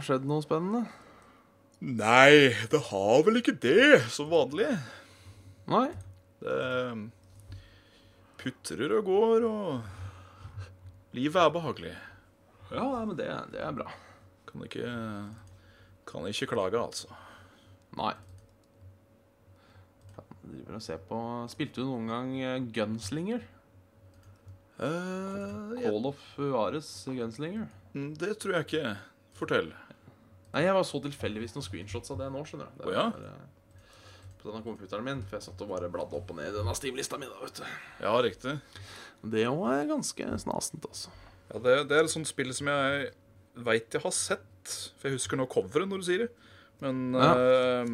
A: skjedd noe spennende?
B: Nei, det har vel ikke det, som vanlig.
A: Nei?
B: Det putrer og går, og livet er behagelig.
A: Ja, nei, men det, det er bra.
B: Kan ikke, kan ikke klage, altså.
A: Nei. Jeg driver og ser på Spilte du noen gang eh, Gunslinger?
B: Eh, jeg-
A: Call of Juarez Gunslinger?
B: det tror jeg ikke. Fortell.
A: Nei, jeg var så tilfeldigvis noen screenshots av det nå, skjønner du. Det
B: Å, ja?
A: var, eh, På denne computeren min, for jeg satt og bare bladde opp og ned i denne stimlista mi. da, vet du.
B: Ja, riktig.
A: Det var ganske snasent, altså.
B: Ja, det, det er et sånt spill som jeg veit jeg har sett. For jeg husker nå coveret når du sier det. Men
A: Ja.
B: eh,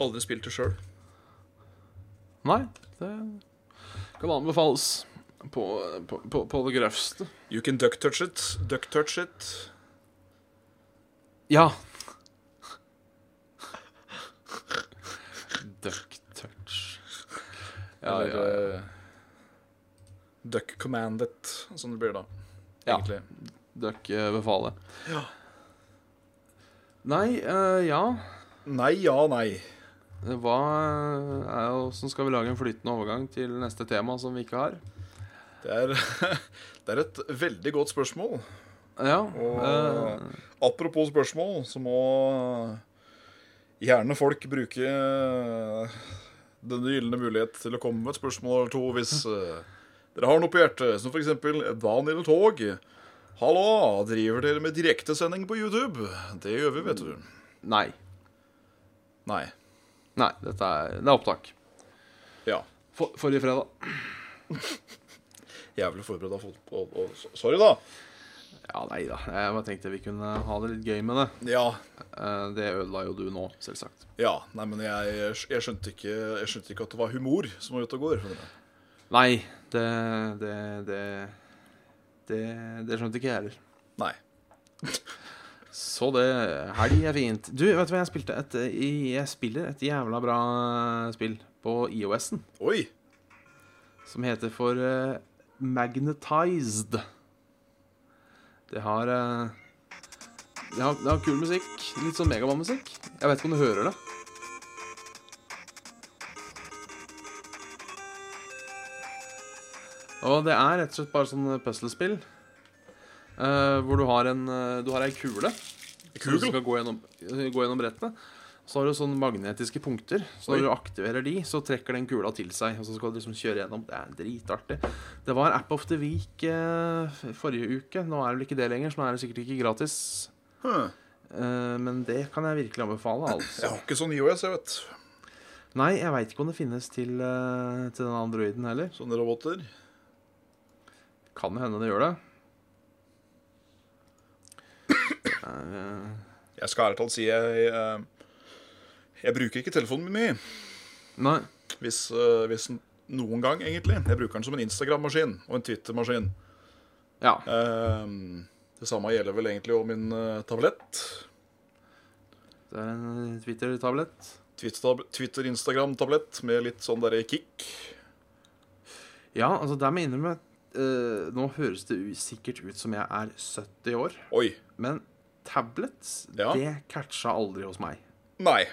B: aldri spilt det sjøl.
A: Nei, det kan anbefales på, på, på, på det grøvste.
B: You can duck touch it. Duck touch it.
A: Ja. [laughs] Duck touch. Ja, ja, ja.
B: Eller eh, duck command it, som det blir da.
A: Ja.
B: Egentlig.
A: Duck eh, befaler. Nei, eh, ja
B: Nei, ja, nei.
A: Hva eh, er Hvordan skal vi lage en flytende overgang til neste tema som vi ikke har?
B: Det er, [laughs] det er et veldig godt spørsmål.
A: Ja.
B: Åh.
A: eh,
B: Apropos spørsmål, så må gjerne folk bruke eh, den gylne mulighet til å komme med et spørsmål eller to hvis eh, dere har noe på hjertet, som f.eks.: Van eller tog? Hallo, driver dere med direktesending på YouTube? Det gjør vi, vet du.
A: nei.
B: Nei.
A: Nei, dette er, det er opptak.
B: Ja.
A: For, forrige fredag.
B: Jævlig forberedt av folk. Og, og, sorry, da.
A: Ja, nei da. Jeg bare tenkte vi kunne ha det litt gøy med det.
B: Ja.
A: Eh, det ødela jo du nå, selvsagt.
B: ja. Nei, men jeg, jeg, skjønte ikke, jeg skjønte ikke at det var humor som var ute og går. skjønner du.
A: Nei, det Det, det, det, det skjønte ikke jeg heller.
B: Nei.
A: Så det Helg er fint. Du, vet du hva, jeg spilte et eh, Jeg spiller et jævla bra eh, spill på IOS-en
B: Oi.
A: som heter for eh, Magnetized. Det har, eh, det har Det har kul musikk. Litt sånn megamann-musikk. Jeg vet ikke om du hører det. Og det er rett og slett bare sånn puslespill. eh, hvor du har en eh, Du har ei kule. Så du
B: Kugel.
A: skal gå gjennom, eh, gå gjennom brettene. Så har du sånne magnetiske punkter. Så når
B: Oi.
A: du aktiverer de, så trekker den kula til seg. Og så skal du liksom kjøre gjennom. Det er dritartig. Det var App of the Week eh, f- forrige uke. Nå er det vel ikke det lenger, så nå er det sikkert ikke gratis.
B: Hm.
A: Eh, men det kan jeg virkelig anbefale, altså.
B: Jeg har ikke sånn IOS, jeg vet.
A: Nei, jeg veit ikke om det finnes til, eh, til den androiden heller.
B: Sånne roboter.
A: Kan jo hende det gjør det. Eh,
B: Jeg skal ærlig talt si jeg, eh, jeg bruker ikke telefonen min mye.
A: nei.
B: Hvis, eh, hvis n- noen gang, egentlig. Jeg bruker den som en Instagram-maskin og en Twitter-maskin.
A: Ja.
B: Eh, det samme gjelder vel egentlig om min eh, tablett.
A: Det er en Twitter-tablett.
B: Twitter- Twitter-Instagram-tablett med litt sånn derre kick.
A: Ja, altså der må jeg innrømme eh, Nå høres det u- sikkert ut som jeg er 70 år,
B: Oi.
A: men tablets,
B: Ja.
A: det catcha aldri hos meg.
B: Nei.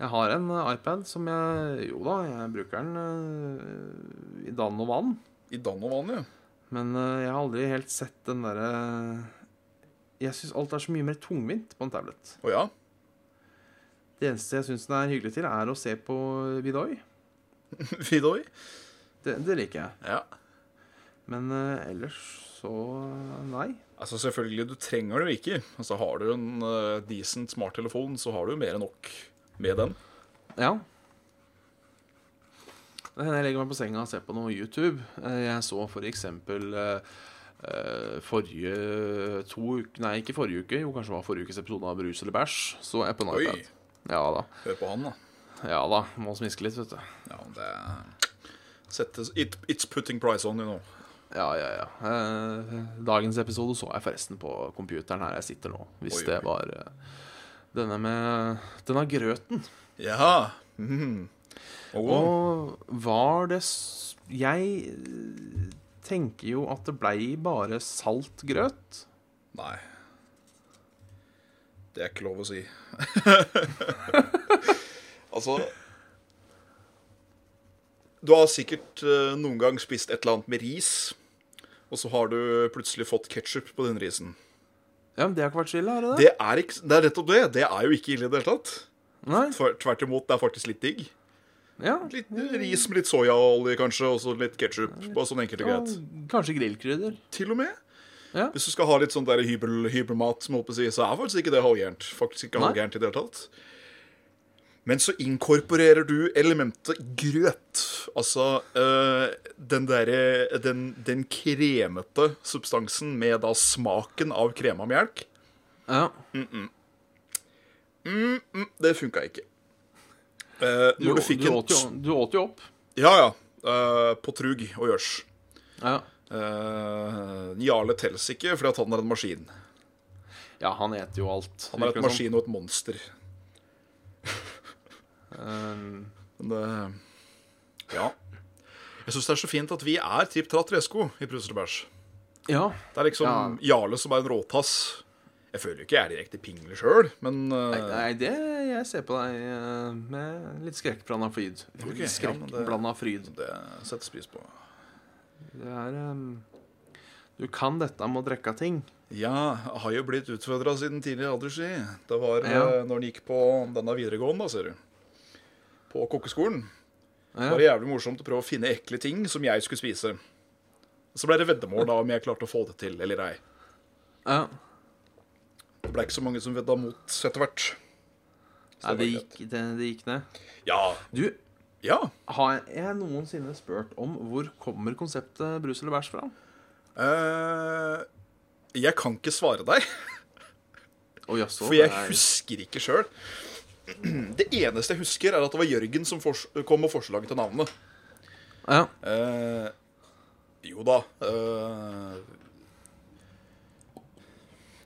A: Jeg har en eh, iPad som jeg Jo da, jeg bruker den eh, i dann og vann,
B: I dann og vann, ja.
A: men eh, jeg har aldri helt sett den derre Jeg syns alt er så mye mer tungvint på en tablet.
B: Å ja. [laughs]
A: Det eneste jeg syns den er hyggelig til, er å se på Vidoi.
B: Vidoi.
A: Det, det liker jeg.
B: Ja.
A: Men eh, ellers så Nei.
B: Altså Selvfølgelig, du trenger det jo ikke. Altså Har du en eh, decent smarttelefon, så har du jo mer enn nok med den.
A: Ja. Det hender jeg legger meg på senga og ser på noe YouTube. Eh, Jeg så for eksempel eh, eh, forrige to uker Nei, ikke forrige uke. Jo, kanskje det var forrige ukes episode av Brus eller bæsj. Så jeg på en
B: Oi.
A: iPad. Ja da.
B: Hør på han, da.
A: ja da, Må smiske litt, vet du.
B: Ja, det settes it, It's putting price on, you know.
A: Ja, ja, ja. Eh, dagens episode så jeg forresten på computeren her jeg sitter nå. Hvis
B: Oi, oi.
A: det var eh, denne med Denne grøten.
B: Ja. Mhm. Åh.
A: Og var det s- Jeg eh, tenker jo at det blei bare salt grøt.
B: Nei. Det er ikke lov å si. [laughs] altså Du har sikkert eh, noen gang spist et eller annet med ris, og så har du plutselig fått ketsjup på den risen.
A: Ja, men det har ikke vært så ille, har det det?
B: Det er, ikke, det er rett og det. Det er jo ikke ille i det hele tatt.
A: Nei?
B: Tver- Tvert imot, det er faktisk litt digg.
A: Ja.
B: Litt ris med litt soyaolje, kanskje, og så litt ketsjup. Bare sånn enkelt og greit.
A: Og Kanskje grillkrydder.
B: Til og med.
A: Ja.
B: Hvis du skal ha litt sånn der hybel, hybelmat, som jeg holdt på å si, så er faktisk ikke det halvgærent. Faktisk ikke
A: Nei.
B: halvgærent i det hele tatt. Men så inkorporerer du elementet grøt. Altså eh, den derre den, den kremete substansen med da smaken av krema melk.
A: Ja.
B: Mm, det funka ikke. Eh,
A: Du,
B: når du fikk
A: du,
B: en
A: åt jo, du åt jo opp.
B: Ja, ja. eh, på trug og gjørs.
A: Ja.
B: Eh, Jarle telles ikke fordi at han er en maskin.
A: ja, han eter jo alt.
B: Han er
A: virker det som.
B: et maskin og et monster.
A: Eh,
B: Men det Ja. Jeg syns det er så fint at vi er Tripp Tratt Resko i Pruselbæsj.
A: ja.
B: Det er liksom Jarle som er en råtass. Jeg føler jo ikke jeg er direkte pingle sjøl, men
A: Nei,
B: eh,
A: nei, det jeg ser på deg eh, med litt skrekkblanda fryd.
B: Ok, ja, men det-
A: Skrekkblanda fryd.
B: det settes pris på.
A: Det er eh, Du kan dette med å drikke av ting.
B: Ja, jeg har jo blitt utfordra siden tidligere alder, si. Det var eh,
A: Ja.
B: når en gikk på denne videregående, da, ser du. På kokkeskolen. Det
A: Ja.
B: var jævlig morsomt å prøve å finne ekle ting som jeg skulle spise. Så ble det veddemål da om jeg klarte å få det til eller ei.
A: Ja.
B: Det ble ikke så mange som vedda mot etter hvert. Så
A: Nei, det
B: var
A: gikk, det, det gikk ned.
B: greit. Ja.
A: Du,
B: ja.
A: har jeg noensinne spurt om hvor kommer konseptet brus eller bæsj fra?
B: Eh, jeg kan ikke svare deg,
A: Å, jaså,
B: for jeg
A: det er-
B: husker ikke sjøl. [clears throat] Det eneste jeg husker, er at det var Jørgen som fors- kom med forslaget til navnet.
A: Ja.
B: Eh, jo da eh,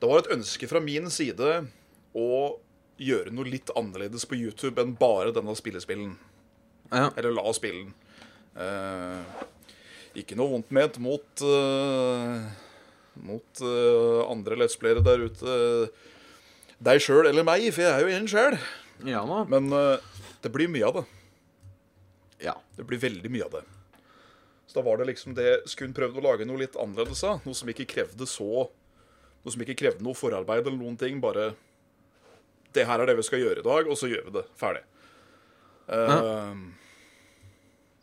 B: Det var et ønske fra min side å gjøre noe litt annerledes på YouTube enn bare denne spillespillen.
A: ja.
B: Eller la oss spille den. Eh, ikke noe vondt ment mot eh, Mot eh, andre let's playere der ute. Deg sjøl eller meg, for jeg er jo en sjæl.
A: Ja da.
B: Men eh, det blir mye av det.
A: Ja.
B: Det blir veldig mye av det. Så da var det liksom det Skulle hun prøvd å lage noe litt annerledes av? Noe som ikke krevde så Noe som ikke krevde noe forarbeid eller noen ting. Bare Det her er det vi skal gjøre i dag, og så gjør vi det. Ferdig. Eh,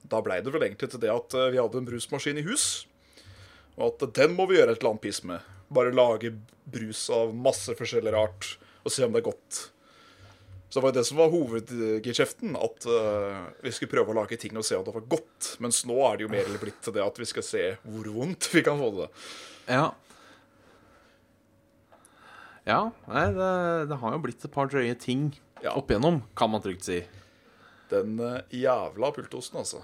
B: Da blei det vel egentlig til det at eh, vi hadde en brusmaskin i hus. Og at eh, den må vi gjøre et eller annet piss med. Bare lage brus av masse forskjellig rart og se om det er godt. Så det var jo det som var hovedgeskjeften, at eh, vi skulle prøve å lage ting og se om det var godt. Mens nå er det jo mer eller blitt til det at vi skal se hvor vondt vi kan få det.
A: Ja. Ja, nei, det, det har jo blitt et par drøye ting
B: Ja.
A: opp igjennom, kan man trygt si.
B: Den eh, jævla pultosten, altså.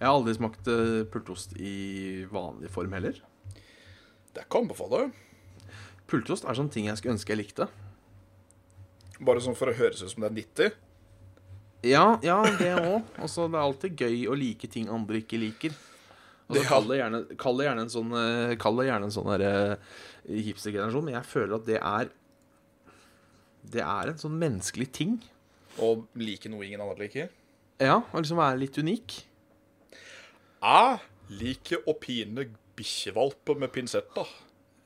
A: Jeg har aldri smakt eh, pultost i vanlig form heller.
B: Det kan anbefale.
A: Pultost er sånn ting jeg skulle ønske jeg likte.
B: Bare sånn for å høres ut som det er 90.
A: Ja, ja, det òg. Altså, det er alltid gøy å like ting andre ikke liker. Altså,
B: Ja.
A: kall, det gjerne, kall det gjerne en sånn eh, Kall det gjerne en sånn der, eh, hipstergenerasjon, men jeg føler at det er Det er en sånn menneskelig ting.
B: Og like noe ingen andre liker.
A: Ja, å liksom være litt unik.
B: Jeg liker å pine bikkjevalper med pinsetta.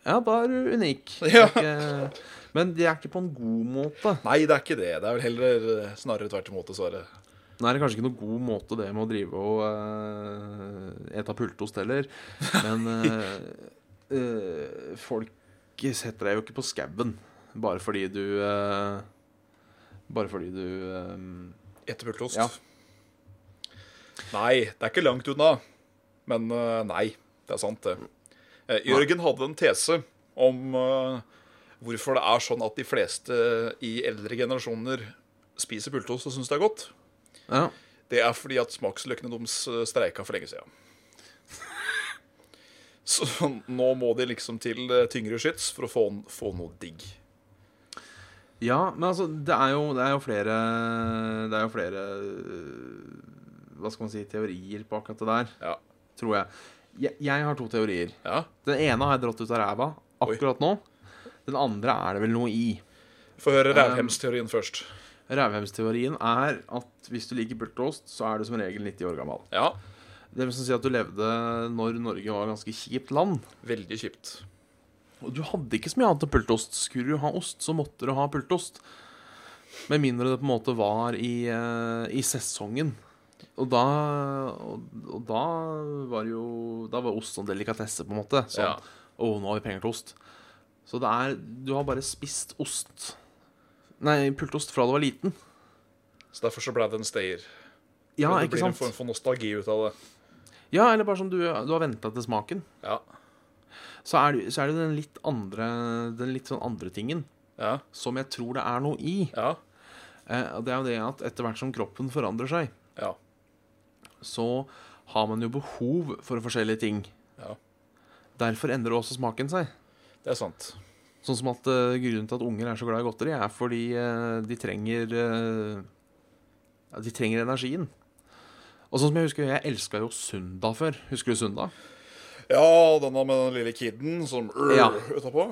A: Ja, da er du unik. Det er
B: Ja.
A: Ikke, men det er ikke på en god måte.
B: Nei, det er ikke det. Det er vel heller eh, snarere tvert imot, dessverre.
A: Nå er det kanskje ikke noen god måte det med å drive og uh, ete pultost heller, men eh, eh, folk setter deg jo ikke på skauen bare fordi du eh, Bare fordi du eh,
B: Etter pultost.
A: Ja.
B: Nei, det er ikke langt unna. Men eh, nei, det er sant, det. Eh, Jørgen hadde en tese om eh, hvorfor det er sånn at de fleste i eldre generasjoner spiser pultost og syns det er godt.
A: Ja.
B: Det er fordi at smaksløkene deres eh, streika for lenge siden. [laughs] Så nå må de liksom til eh, tyngre skyts for å få, få noe digg.
A: Ja, men altså, det er jo, det er jo flere Det er jo eh, flere øh, Hva skal man si, teorier på akkurat det der,
B: Ja.
A: tror jeg. Jeg, jeg har to teorier.
B: Ja.
A: Den ene har jeg dratt ut av ræva akkurat nå. Den andre er det vel noe i.
B: Få høre rævhemsteorien først.
A: Rævhemsteorien er at hvis du liker pultost, så er du som regel 90 år gammel.
B: Ja.
A: Det vil sånn si at du levde når Norge var et ganske kjipt land.
B: Veldig kjipt.
A: Og du hadde ikke så mye annet enn pultost. Skulle du ha ost, så måtte du ha pultost. Med mindre det på en måte var i, eh, i sesongen. Og da, og, og da var jo Da var ost sånn delikatesse, på en måte. Sånn
B: Ja.
A: Å, nå har vi penger til ost. Så det er Du har bare spist ost. Nei, pultost fra du var liten.
B: Så derfor så ble det en stayer.
A: Ja,
B: det
A: ikke
B: blir en
A: sant?
B: form for nostalgi ut av det.
A: Ja, eller bare som du, du har venta til smaken.
B: Ja.
A: Så er, det- så er det den litt andre Den litt sånn andre tingen
B: Ja.
A: som jeg tror det er noe i.
B: Ja.
A: Eh, og det er jo det at etter hvert som kroppen forandrer seg,
B: Ja.
A: så har man jo behov for forskjellige ting.
B: Ja.
A: Derfor endrer også smaken seg.
B: Det er sant.
A: Sånn som at eh, grunnen til at unger er så glad i godteri, er fordi eh, de trenger eh, ja, De trenger energien. Og sånn som jeg husker, jeg elska jo Sunda før. Husker du Sunda?
B: Ja, denne med den lille kiden som øh,
A: Ja.
B: utapå.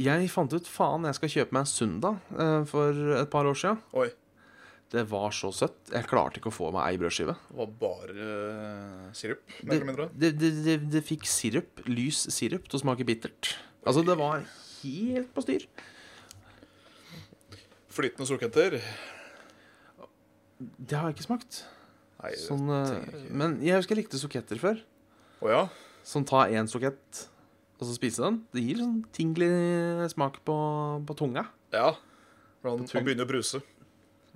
A: Jeg fant ut faen, jeg skal kjøpe meg Sunda eh, for et par år sia.
B: Oi.
A: Det var så søtt. Jeg klarte ikke å få meg ei brødskive.
B: Det var bare eh, sirup, mer
A: Det,
B: eller mindre.
A: det, det, det, det fikk sirup, lys sirup, til å smake bittert. Altså, det var helt på styr.
B: Flytende solkenter.
A: Det har jeg ikke smakt.
B: Nei, det
A: Sånn, eh,
B: trenger jeg ikke.
A: men jeg husker jeg likte soketter før.
B: Å ja?
A: Sånn ta én sokett og så spise den. Det gir sånn tinglig smak på, på tunga.
B: Ja. Man,
A: tung.
B: man begynner å bruse.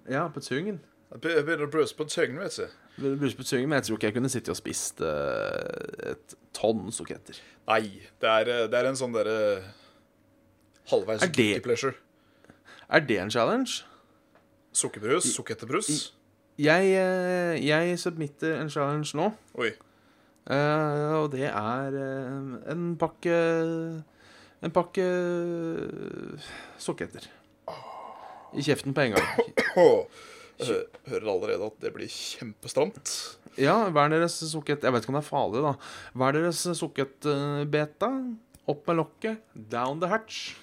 A: Ja, på tungen.
B: Jeg be- jeg begynner å bruse på tungen, vet du.
A: Brus på tungen, men jeg tror ikke jeg kunne sittet og spist eh, et tonn soketter.
B: Nei, det er, eh, det er en sånn derre halvveis
A: Er det-
B: guilty pleasure.
A: Er det en challenge?
B: Sukkerbrus, sukkerterbrus.
A: Jeg, eh, jeg submitter en challenge nå.
B: Oi.
A: Eh, og det er eh, en pakke En pakke sokketter. I kjeften på en [laughs] gang.
B: Åh, jeg hø- hører allerede at det blir kjempestramt.
A: Ja, hver deres sokket Jeg vet ikke om det er farlig, da. Hver deres sokketbeta. Opp med lokket. Down the hatch.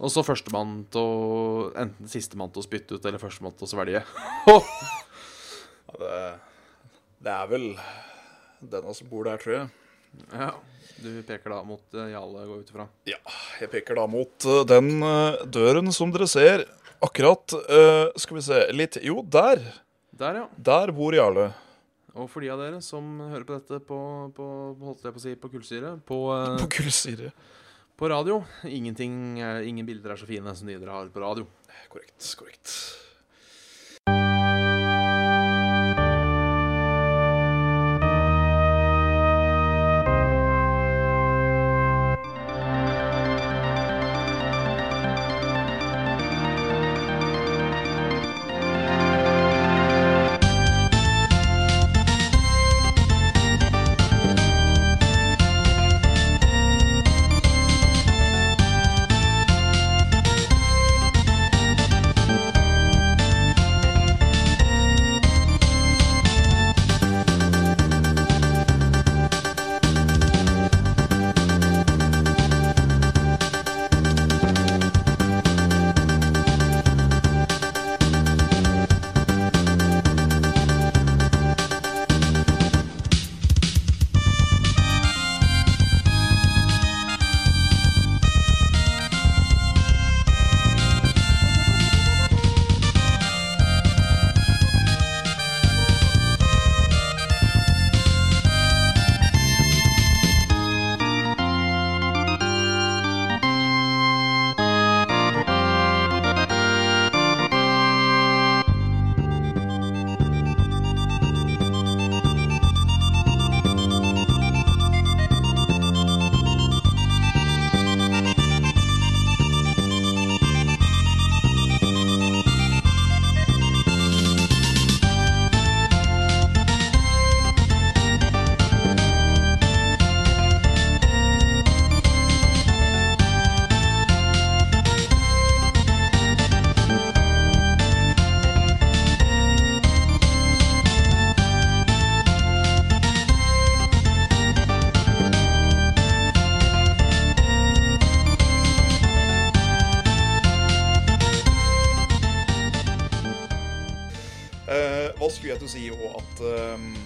A: Og så førstemann til å Enten sistemann til å spytte ut, eller førstemann til å svelge.
B: Ja, det, det er vel denne som bor der, tror jeg.
A: Ja. Du peker da mot eh, Jarle, går jeg ut ifra.
B: Ja, jeg peker da mot eh, den eh, døren som dere ser akkurat. eh, Skal vi se litt Jo, der.
A: Der, ja.
B: Der bor Jarle.
A: Og for de av dere som hører på dette på, på holdt jeg på å si, på kullsyre, på,
B: På
A: eh,
B: gullsyre.
A: på radio Ingenting, eh, Ingen bilder er så fine som de dere har på radio.
B: Korrekt, korrekt. Eh, skulle jeg til å si òg at ehm,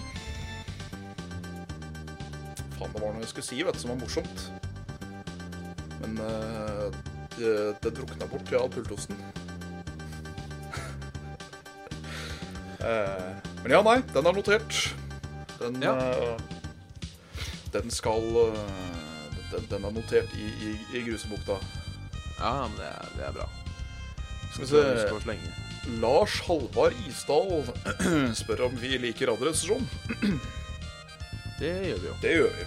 B: Faen, det var noe jeg skulle si, vet du, som var morsomt. Men eh, det, det drukna bort ja, pultosten. [laughs] Eh, men ja, nei, den er notert. Den
A: Ja.
B: eh, Den skal eh, den, den er notert i, i, i grusebukta.
A: Ja, men det er, det er bra.
B: Skal vi
A: Så jeg
B: se
A: husker å slenge.
B: Lars Halvard Isdal [clears throat] spør om vi liker Radioresepsjonen.
A: Det gjør vi jo.
B: Det gjør vi.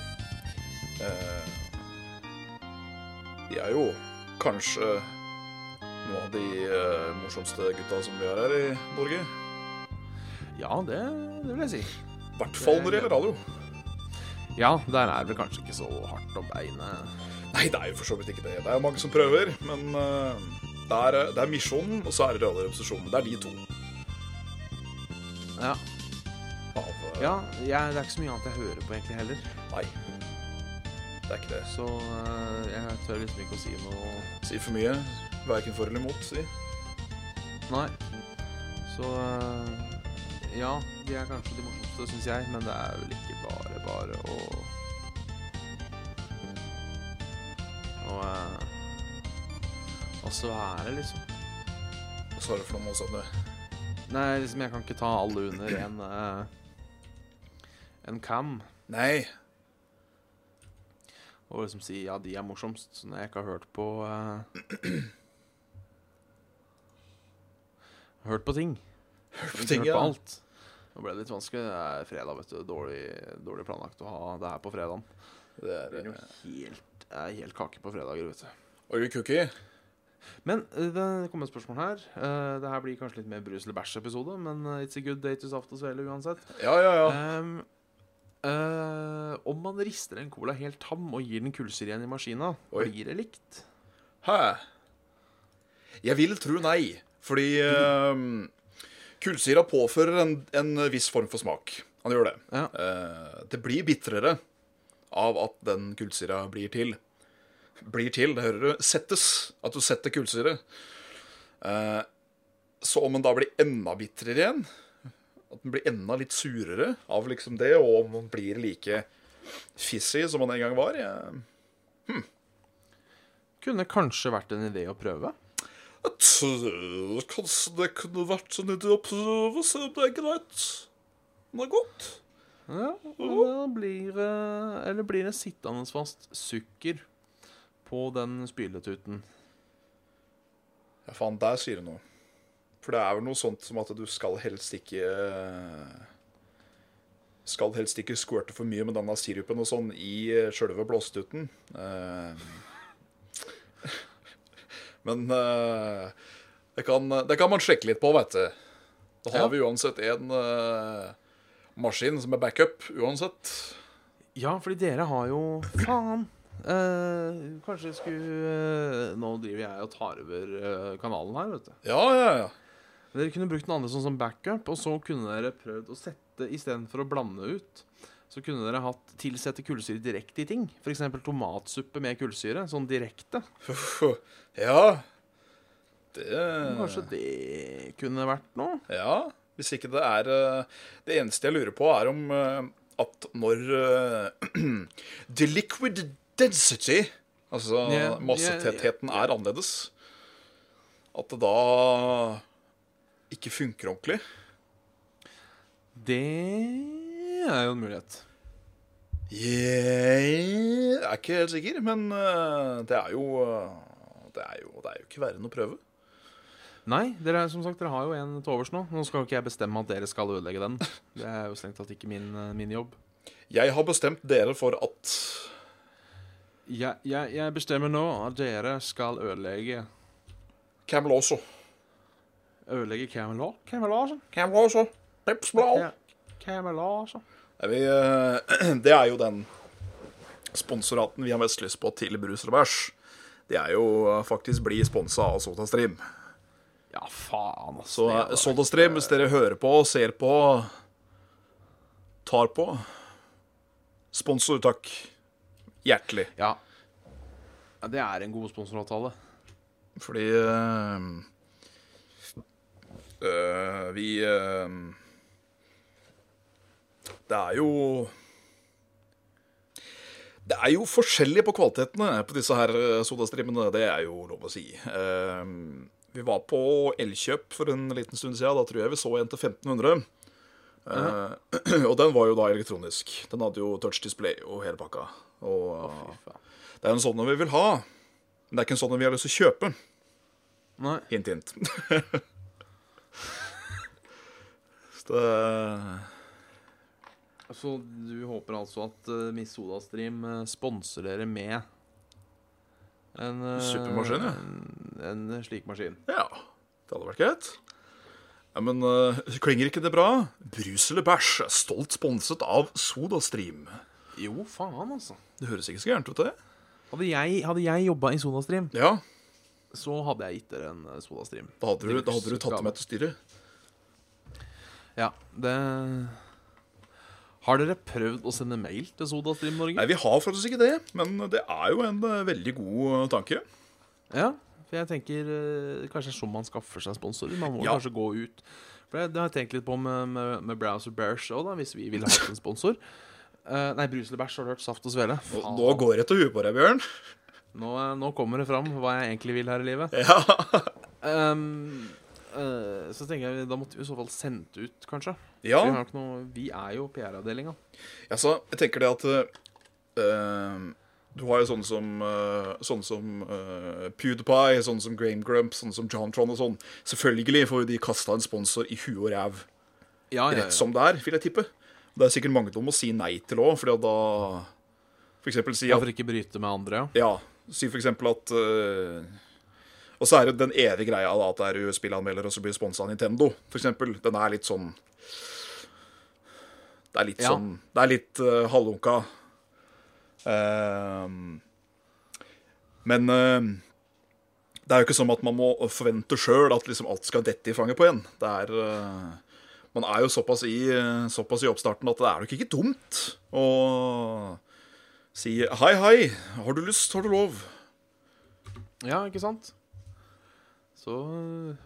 B: Eh, De er jo kanskje noen av de eh, morsomste gutta som vi har her i Norge.
A: Ja, det, det vil jeg si.
B: I hvert fall når det gjelder radio.
A: Ja, der er det vel kanskje ikke så hardt om beinet.
B: Nei, det er jo for så vidt ikke det. Det er mange som prøver, men eh, det er, det er Misjonen, og så er det Radioresepsjonen. Det er de to.
A: Ja,
B: Av, eh,
A: ja jeg, det er ikke så mye annet jeg hører på egentlig heller.
B: Nei. Det er ikke det.
A: Så eh, jeg tør liksom ikke å si noe
B: Si for mye. Verken for eller imot, si.
A: Nei. Så eh, ja, de er kanskje de morsomste, syns jeg, men det er vel ikke bare bare å Å eh, å svære, liksom.
B: Og så er det for noen sånne
A: Nei, liksom, jeg kan ikke ta alle under en eh, En cam
B: Nei.
A: og liksom si ja, de er morsomst, så når jeg ikke har hørt på eh, Hørt på ting.
B: Hørt
A: Ikke
B: på ting,
A: hørt på
B: ja.
A: alt. Nå ble det litt vanskelig. Det er fredag, vet du. Dårlig, dårlig planlagt å ha det her på fredagen.
B: Det
A: Det
B: er
A: blir jo
B: eh,
A: helt, det er helt kake på fredager, vet du.
B: Are you cookie?
A: Men eh, det kom et spørsmål her. Eh, det her blir kanskje litt mer brus eller bæsj-episode, men eh, it's a good day to saft og svele uansett.
B: Ja, ja, ja.
A: Ehm, eh, om man rister en cola helt tam og gir den kullsyre igjen i maskina,
B: Oi.
A: blir det likt?
B: Hæ? Jeg vil tro nei, fordi um, kullsyra påfører en, en viss form for smak. Han gjør det.
A: Ja.
B: Eh, det blir bitrere av at den kullsyra blir til. Blir til, det hører du. Settes. At du setter kullsyre. Eh, så om den da blir enda bitrere igjen, at den blir enda litt surere av liksom det, og om den blir like fissig som den en gang var jeg,
A: Kunne kanskje vært en idé å prøve.
B: Jeg tror kanskje det kunne vært en idé å prøve, se om det er greit. Men det er godt.
A: Ja, og da blir det Eller blir det sittende fast sukker på den spyletuten?
B: Ja, faen, der sier du noe. For det er vel noe sånt som at du skal helst ikke eh, Skal helst ikke squirte for mye med denne sirupen og sånn i sjølve blåstuten. Eh, [laughs] Men eh, det kan, det kan man sjekke litt på, veit du. Da har
A: Ja.
B: vi uansett en eh, maskin som er backup uansett.
A: Ja, fordi dere har jo Faen! Eh, kanskje jeg skulle eh, Nå driver jeg og tar over eh, kanalen her, vet du.
B: Ja, ja, ja.
A: Dere kunne brukt den andre sånn som backup, og så kunne dere prøvd å sette istedenfor å blande ut. Så kunne dere hatt tilsette kullsyre direkte i ting. F.eks. tomatsuppe med kullsyre. Sånn direkte.
B: Ja. Det
A: Kanskje det kunne vært noe?
B: Ja. Hvis ikke det er eh, Det eneste jeg lurer på, er om eh, at når eh, [clears throat] The liquid density, altså
A: Ja, ja,
B: massetettheten, er annerledes, at det da ikke funker ordentlig.
A: Det er jo en mulighet.
B: Jeg er ikke helt sikker, men eh, det er jo eh, Det er jo, det er jo ikke verre enn å prøve.
A: Nei, dere, er- som sagt, dere har jo en til overs nå. Nå skal jo ikke jeg bestemme at dere skal ødelegge den. Det er jo strengt tatt ikke min, eh, min jobb.
B: Jeg har bestemt dere for at
A: Jeg, jeg, jeg bestemmer nå at dere skal ødelegge
B: Camel også.
A: Ødelegge Camelot? Camelot?
B: Camel også. Peps blad.
A: Ja, Camelot?
B: Er vi, eh, [clears throat] det er jo den sponsoraten vi har mest lyst på til Brus eller bæsj. Det er jo eh, faktisk bli sponsa av SodaStream.
A: Ja, faen, altså.
B: Så eh, SodaStream, hvis dere hører på, ser på, tar på Sponsor, takk. Hjertelig.
A: Ja. ja. Det er en god sponsoravtale.
B: Fordi eh, eh, vi eh, Det er jo Det er jo forskjellig på kvalitetene på disse her eh, sodastrimmene. Det er jo lov å si. Eh, Vi var på Elkjøp for en liten stund siden. Da tror jeg vi så en til 1500. Eh, [clears throat] Og den var jo da elektronisk. Den hadde jo touch display og hele pakka. Og
A: Fy faen.
B: det er jo en sånn vi vil ha, men det er ikke en sånn vi har lyst til å kjøpe.
A: Nei.
B: Hint, hint. [laughs] Så eh, det
A: Så du håper altså at uh, Miss Sodastream eh, sponser dere med en eh,
B: Supermaskin, ja.
A: En, en slik maskin.
B: Ja, det hadde vært greit. Ja, men eh, klinger ikke det bra? Brus eller bæsj er stolt sponset av Sodastream.
A: Jo, faen, altså.
B: Det høres ikke så gærent ut, det.
A: Hadde jeg, hadde jeg jobba i Sodastream,
B: Ja,
A: så hadde jeg gitt dere en eh, Sodastream.
B: da hadde du, da hadde du tatt det med til styret.
A: Ja, det Har dere prøvd å sende mail til Sodastream Norge?
B: Nei, vi har faktisk ikke det, men det er jo en eh, veldig god eh, tanke.
A: Ja, for jeg tenker eh, kanskje det er sånn man skaffer seg sponsorer. Man må
B: Ja.
A: kanskje gå ut. For det, det har jeg tenkt litt på med, med, med Browser Bears òg, hvis vi ville hatt en sponsor. Eh, nei, Brus eller bæsj, har du hørt? Saft og svele.
B: Og
A: Faen.
B: nå går jeg til huet på deg, Bjørn.
A: Nå, eh, nå kommer det fram hva jeg egentlig vil her i livet.
B: Ja.
A: Ehm, eh, så tenker jeg, Da måtte vi i så fall sendt ut, kanskje.
B: ja.
A: Vi, har jo ikke noe, vi er jo PR-avdelinga.
B: Altså, jeg tenker det at eh, Du har jo sånne som, eh, sånne som eh, PewDiePie, sånne som Graham Grump, sånne som Johntron og sånn. Selvfølgelig får jo de kasta en sponsor i huet og ræv
A: Ja, ja,
B: rett
A: ja.
B: som det er, vil jeg tippe. Det er sikkert mange som må si nei til òg, fordi at da For eksempel si at
A: For ikke bryte med andre. ja.
B: Ja, si for eksempel at eh, Og så er det den evige greia da, at det er jo spillanmelder, og så blir sponsa av Nintendo, for eksempel. Den er litt sånn Det er litt
A: Ja.
B: sånn Det er litt eh, halvlunka. Ehm, men eh, det er jo ikke sånn at man må forvente sjøl at liksom alt skal dette i fanget på en. Det er, eh, man er jo såpass i, eh, såpass i oppstarten at det er nok ikke dumt å si hei, hei, har du lyst, har du lov?
A: Ja, ikke sant? Så,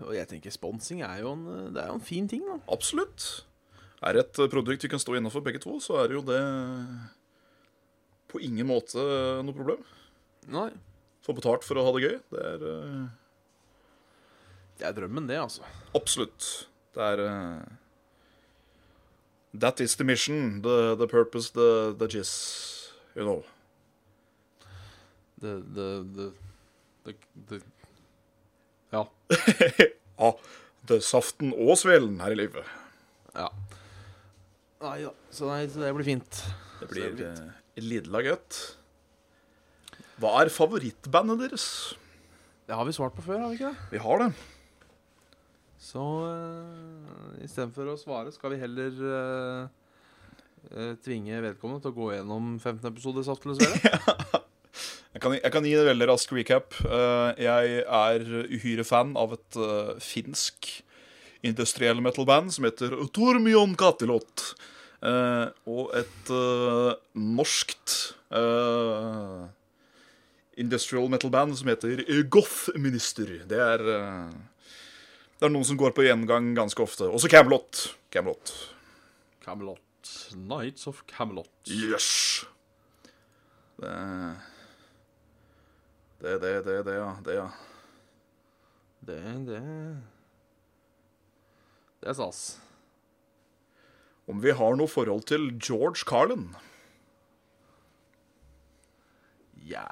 A: og jeg tenker sponsing er jo en, eh, det er jo en fin ting, da.
B: Absolutt. Er det et eh, produkt vi kan stå innafor begge to, så er det jo det på ingen måte eh, noe problem.
A: Nei,
B: Få betalt for å ha det gøy, det er eh,
A: det er drømmen, det, altså.
B: Absolutt. Det er eh, That is the mission, the, the purpose, the, the gist, you know.
A: Det, det, det, det, det. Ja.
B: Ja, det er saften og svelen her i livet.
A: ja. Nei da. Så, nei, så det blir fint.
B: Det
A: blir,
B: lidla godt. Hva er favorittbandet deres?
A: Det har vi svart på før, har vi ikke det?
B: Vi har det.
A: Så uh, istedenfor å svare, skal vi heller eh, eh, tvinge vedkommende til å gå gjennom 15 episoder Saft eller svele.
B: Jeg kan, jeg kan gi en veldig rask recap. Eh, Jeg er uhyre fan av et eh, finsk industriell metal-band som heter Tormion Katilot. Eh, og et eh, norskt eh, industrial metal-band som heter Goth-minister. Det er eh, Det er noen som går på gjengang ganske ofte. Også Camelot. Camelot.
A: Camelot. Nights of Camelot.
B: Yes! Det Det, det, det, det, ja. Det, ja.
A: Det, det Det er stas.
B: Om vi har noe forhold til George Carlin?
A: Ja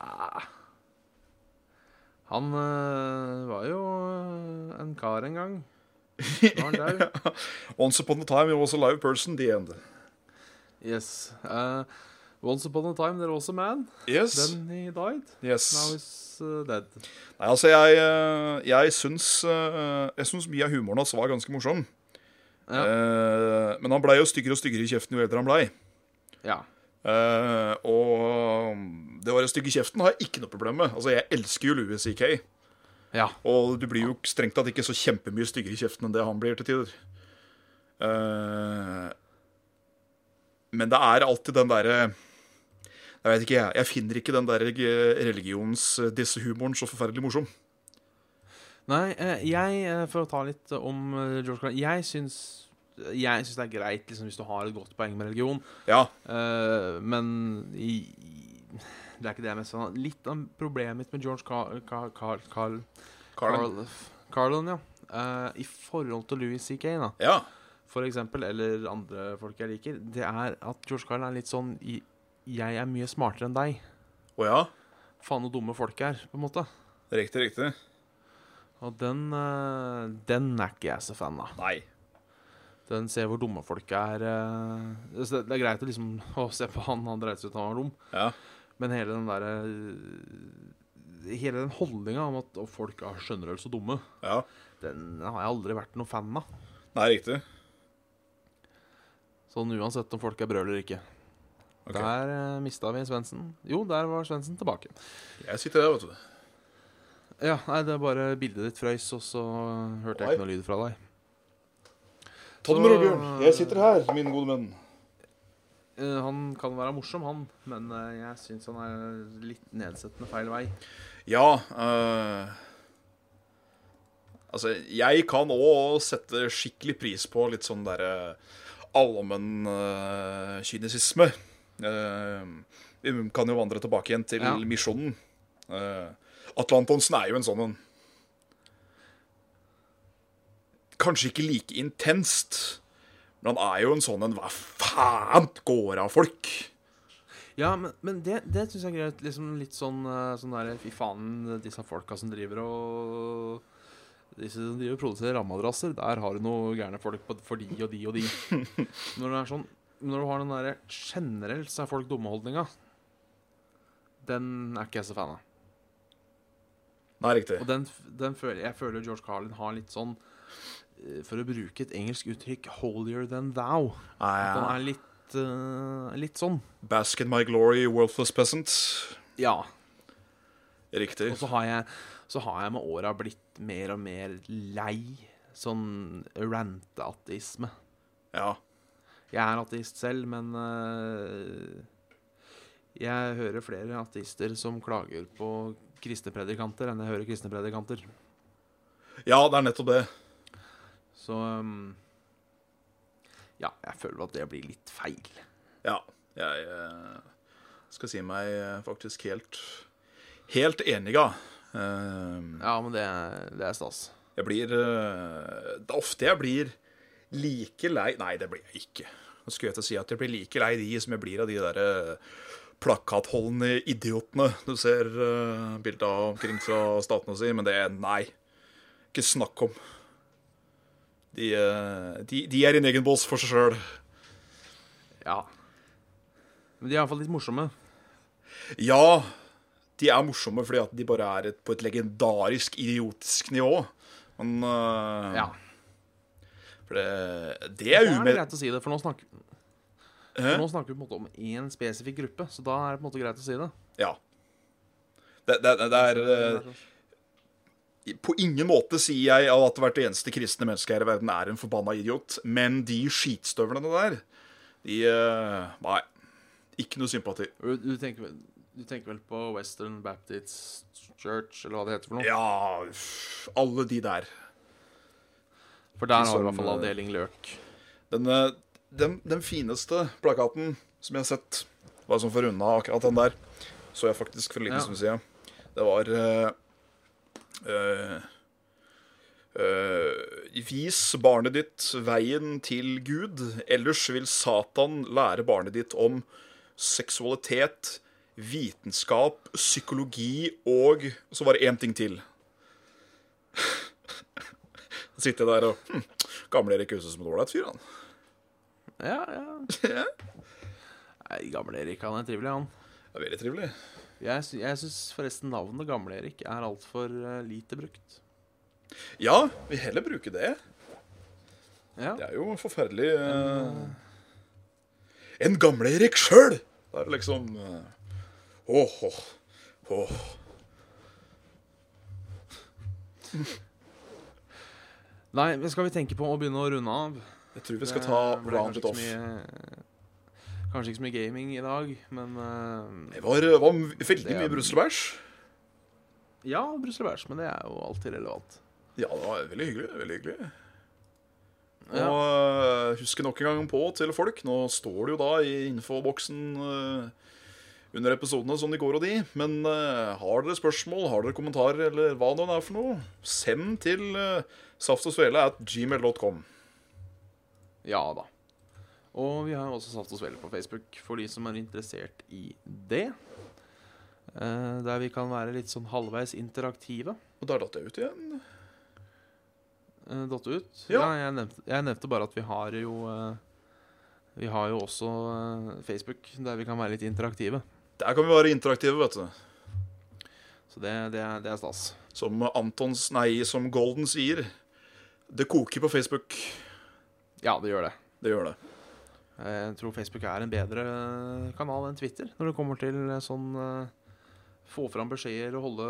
A: Han eh, var jo eh, en kar en gang. Nå er han dau.
B: Once upon a time he was a live person, the end.
A: Yes. Eh, once upon a time there was a man.
B: Yes.
A: Then he died.
B: yes.
A: Now he's eh, dead.
B: Nei, altså, jeg, eh, jeg syns eh, Jeg syns mye av humoren hans var ganske morsom.
A: Ja.
B: Eh, Men han blei jo styggere og styggere i kjeften jo eldre han blei.
A: Ja.
B: Eh, og det å være stygg i kjeften har jeg ikke noe problem med. Altså, Jeg elsker jo Louis CK.
A: Ja.
B: Og du blir jo strengt tatt ikke så kjempemye styggere i kjeften enn det han blir til tider. Eh, men det er alltid den derre Jeg vet ikke, jeg. Jeg finner ikke den eh, der religions-disse-humoren så forferdelig morsom.
A: Nei, eh, jeg eh, For å ta litt om eh, George Carlin Jeg syns Jeg syns det er greit liksom, hvis du har et godt poeng med religion,
B: Ja,
A: eh, men i, i, det er ikke det jeg er mest sånn. Litt av problemet mitt med George Carl, Carl, Carl, Carl,
B: Carl.
A: Carlin, ja. Eh, I forhold til Louis C.K., da,
B: Ja.
A: for eksempel, eller andre folk jeg liker, det er at George Carlin er litt sånn i, Jeg er mye smartere enn deg.
B: Å ja.
A: Faen hvor dumme folk er, på en måte.
B: Riktig, riktig.
A: Og den, eh, den er ikke jeg så fan av.
B: Nei.
A: Den ser hvor dumme folk er. eh, så Det det er greit å liksom å se på han, han dreit seg ut, han var dum.
B: Ja.
A: Men hele den derre Hele den holdninga om at «Å, folk er generelt så dumme,
B: ja.
A: den har jeg aldri vært noen fan av.
B: Nei, riktig.
A: Sånn uansett om folk er brøl eller ikke.
B: Ok.
A: Der uh, mista vi Svendsen. Jo, der var Svendsen tilbake.
B: Jeg sitter der, vet du.
A: Ja, nei, det er bare bildet ditt frøys, og så hørte jeg ikke noe lyd fra deg.
B: Ta det med ro, Bjørn. Jeg sitter her, min gode venn.
A: Eh, han kan være morsom, han, men eh, jeg syns han er litt nedsettende feil vei.
B: Ja eh, Altså, jeg kan òg sette skikkelig pris på litt sånn derre allmenn eh, kynisisme. Eh, vi kan jo vandre tilbake igjen til
A: Ja.
B: misjonen. Eh, Atle Antonsen er jo en sånn en. Kanskje ikke like intenst, men han er jo en sånn en Hva faen går av folk?
A: Ja, men, men det, det syns jeg er greit. Liksom litt sånn, eh, sånn der Fy faen, disse folka som driver og Disse som driver og produserer rammeadrasser, der har du noe gærne folk på, for de og de og de. Når det er sånn Når du har den derre generelt så er folk dumme-holdninga, den er ikke jeg så fan av.
B: Nei, riktig.
A: Og den, f- den føler, jeg føler George Carlin har litt sånn eh, For å bruke et engelsk uttrykk 'holier than thou'. At han er litt, eh, litt sånn.
B: Bask in my glory, worthless peasant.
A: Ja.
B: Riktig.
A: Og så har jeg, så har jeg med åra blitt mer og mer lei sånn ranteateisme.
B: Ja.
A: Jeg er ateist selv, men eh, jeg hører flere ateister som klager på kristne predikanter enn jeg hører kristne predikanter.
B: ja, det er nettopp det.
A: Så um, ja, jeg føler at det blir litt feil.
B: Ja. Jeg eh, skal si meg eh, faktisk helt Helt enig, ja. Eh,
A: Ja, men det, det er stas.
B: Jeg blir eh, Det er ofte jeg blir like lei Nei, det blir jeg ikke. Nå skulle jeg til å si at jeg blir like lei de som jeg blir av de der eh, plakatholdende idiotene du ser uh, bilde av omkring fra statene si, men det er nei. Ikke snakk om. De, eh, de, de er en egen bås for seg sjøl.
A: Ja. Men de er iallfall litt morsomme.
B: Ja, de er morsomme fordi at de bare er et, på et legendarisk idiotisk nivå. Men øh,
A: Ja.
B: for det, det
A: Da er
B: er
A: det
B: umed...
A: greit å si det, for nå snakker,
B: Hæ?
A: for nå snakker vi på en måte om én spesifikk gruppe, så da er det på en måte greit å si det.
B: Ja. Det, det, det, det er øh, På ingen måte sier jeg at hvert eneste kristne menneske her i verden er en forbanna idiot, men de skitstøvlene der, de øh, Nei. Ikke noe sympati.
A: du, du, tenker, vel- du tenker vel på Western Baptist Church, eller hva det heter for noe?
B: Ja, uff, alle de der.
A: For der har du i
B: Som,
A: hvert fall
B: eh,
A: avdeling løk.
B: Den, eh, den, den fineste plakaten som jeg har sett, bare sånn for å runde av akkurat den der, så jeg faktisk for en liten
A: Ja.
B: stund siden. Det var eh, eh, eh, Vis barnet ditt veien til Gud, ellers vil Satan lære barnet ditt om seksualitet, vitenskap, psykologi og Så var det én ting til. [laughs] Så sitter jeg der og hm, Gamle Erik Huse som en ålreit fyr, han.
A: Ja, ja.
B: [laughs] Ja.
A: Nei, Gamle Erik, han er trivelig, han.
B: Det er veldig trivelig.
A: Jeg, sy jeg syns forresten navnet Gamle Erik er altfor uh, lite brukt.
B: Ja, vi heller bruker det.
A: Ja.
B: Det er jo forferdelig eh, En gamle Erik sjøl! Det er liksom eh, Åh, åh, åh.
A: Nei, men skal vi tenke på å begynne å runde av? Eh,
B: Jeg tror vi skal ta
A: Det ble
B: round
A: kanskje
B: it
A: ikke
B: off.
A: så mye- Kanskje ikke så mye gaming i dag, men eh,
B: Det var, var veldig
A: Det er-
B: mye bruselbæsj.
A: Ja, Brussel Bæsj, men det er jo alltid relevant.
B: Ja, det var veldig hyggelig. Veldig hyggelig. Og eh, husker nok en gang på til folk. Nå står det jo da i infoboksen eh, under episodene som de går og de. Men eh, har dere spørsmål, har dere kommentarer eller hva det nå er for noe, send til eh, saftogsvele at gmail.com.
A: Ja da. Og vi har jo også satt oss vel på Facebook for de som er interessert i det. Eh, der vi kan være litt sånn halvveis interaktive.
B: Og der datt jeg ut igjen.
A: eh, Datt ut. Ja,
B: Ja.
A: jeg, nevnte, jeg nevnte bare at vi har jo eh, Vi har jo også eh, Facebook der vi kan være litt interaktive.
B: Der kan vi være interaktive, vet du.
A: Så det, det, er, det er stas.
B: Som Antons, nei, som Golden sier. Det koker på Facebook.
A: Ja, det gjør det.
B: Det gjør det.
A: Eh, Jeg tror Facebook er en bedre eh, kanal enn Twitter når det kommer til sånn eh, Få fram beskjeder og holde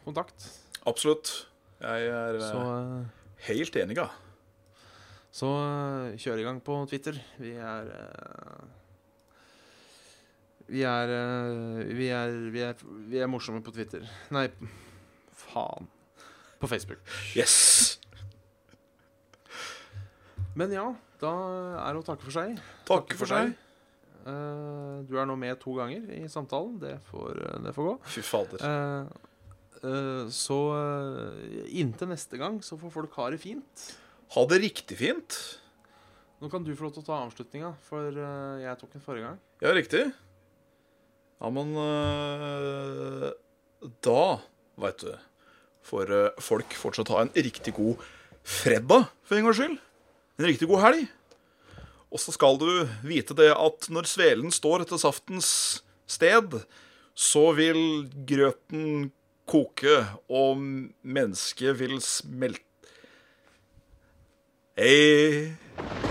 A: kontakt.
B: Absolutt. Jeg er eh,
A: Så, eh,
B: helt enig, ja.
A: så eh, kjør i gang på Twitter. Vi er eh, Vi er eh, Vi er, vi er, vi er morsomme på Twitter. Nei, p- faen. På Facebook.
B: Yes!
A: Men ja, da er det å takke for seg.
B: Takke for seg.
A: Eh, Du er nå med to ganger i samtalen. Det får, eh, det får gå.
B: Fy fader.
A: Eh, eh, så eh, inntil neste gang så får folk ha det fint.
B: Ha det riktig fint.
A: Nå kan du få lov til å ta avslutninga, for eh, jeg tok den forrige gang.
B: Ja, riktig. Ja, men eh, Da, veit du, får eh, folk fortsatt ha en riktig god fredag, for en gangs skyld. En riktig god helg. Og så skal du vite det at når svelen står etter saftens sted, så vil grøten koke, og mennesket vil smelte Hei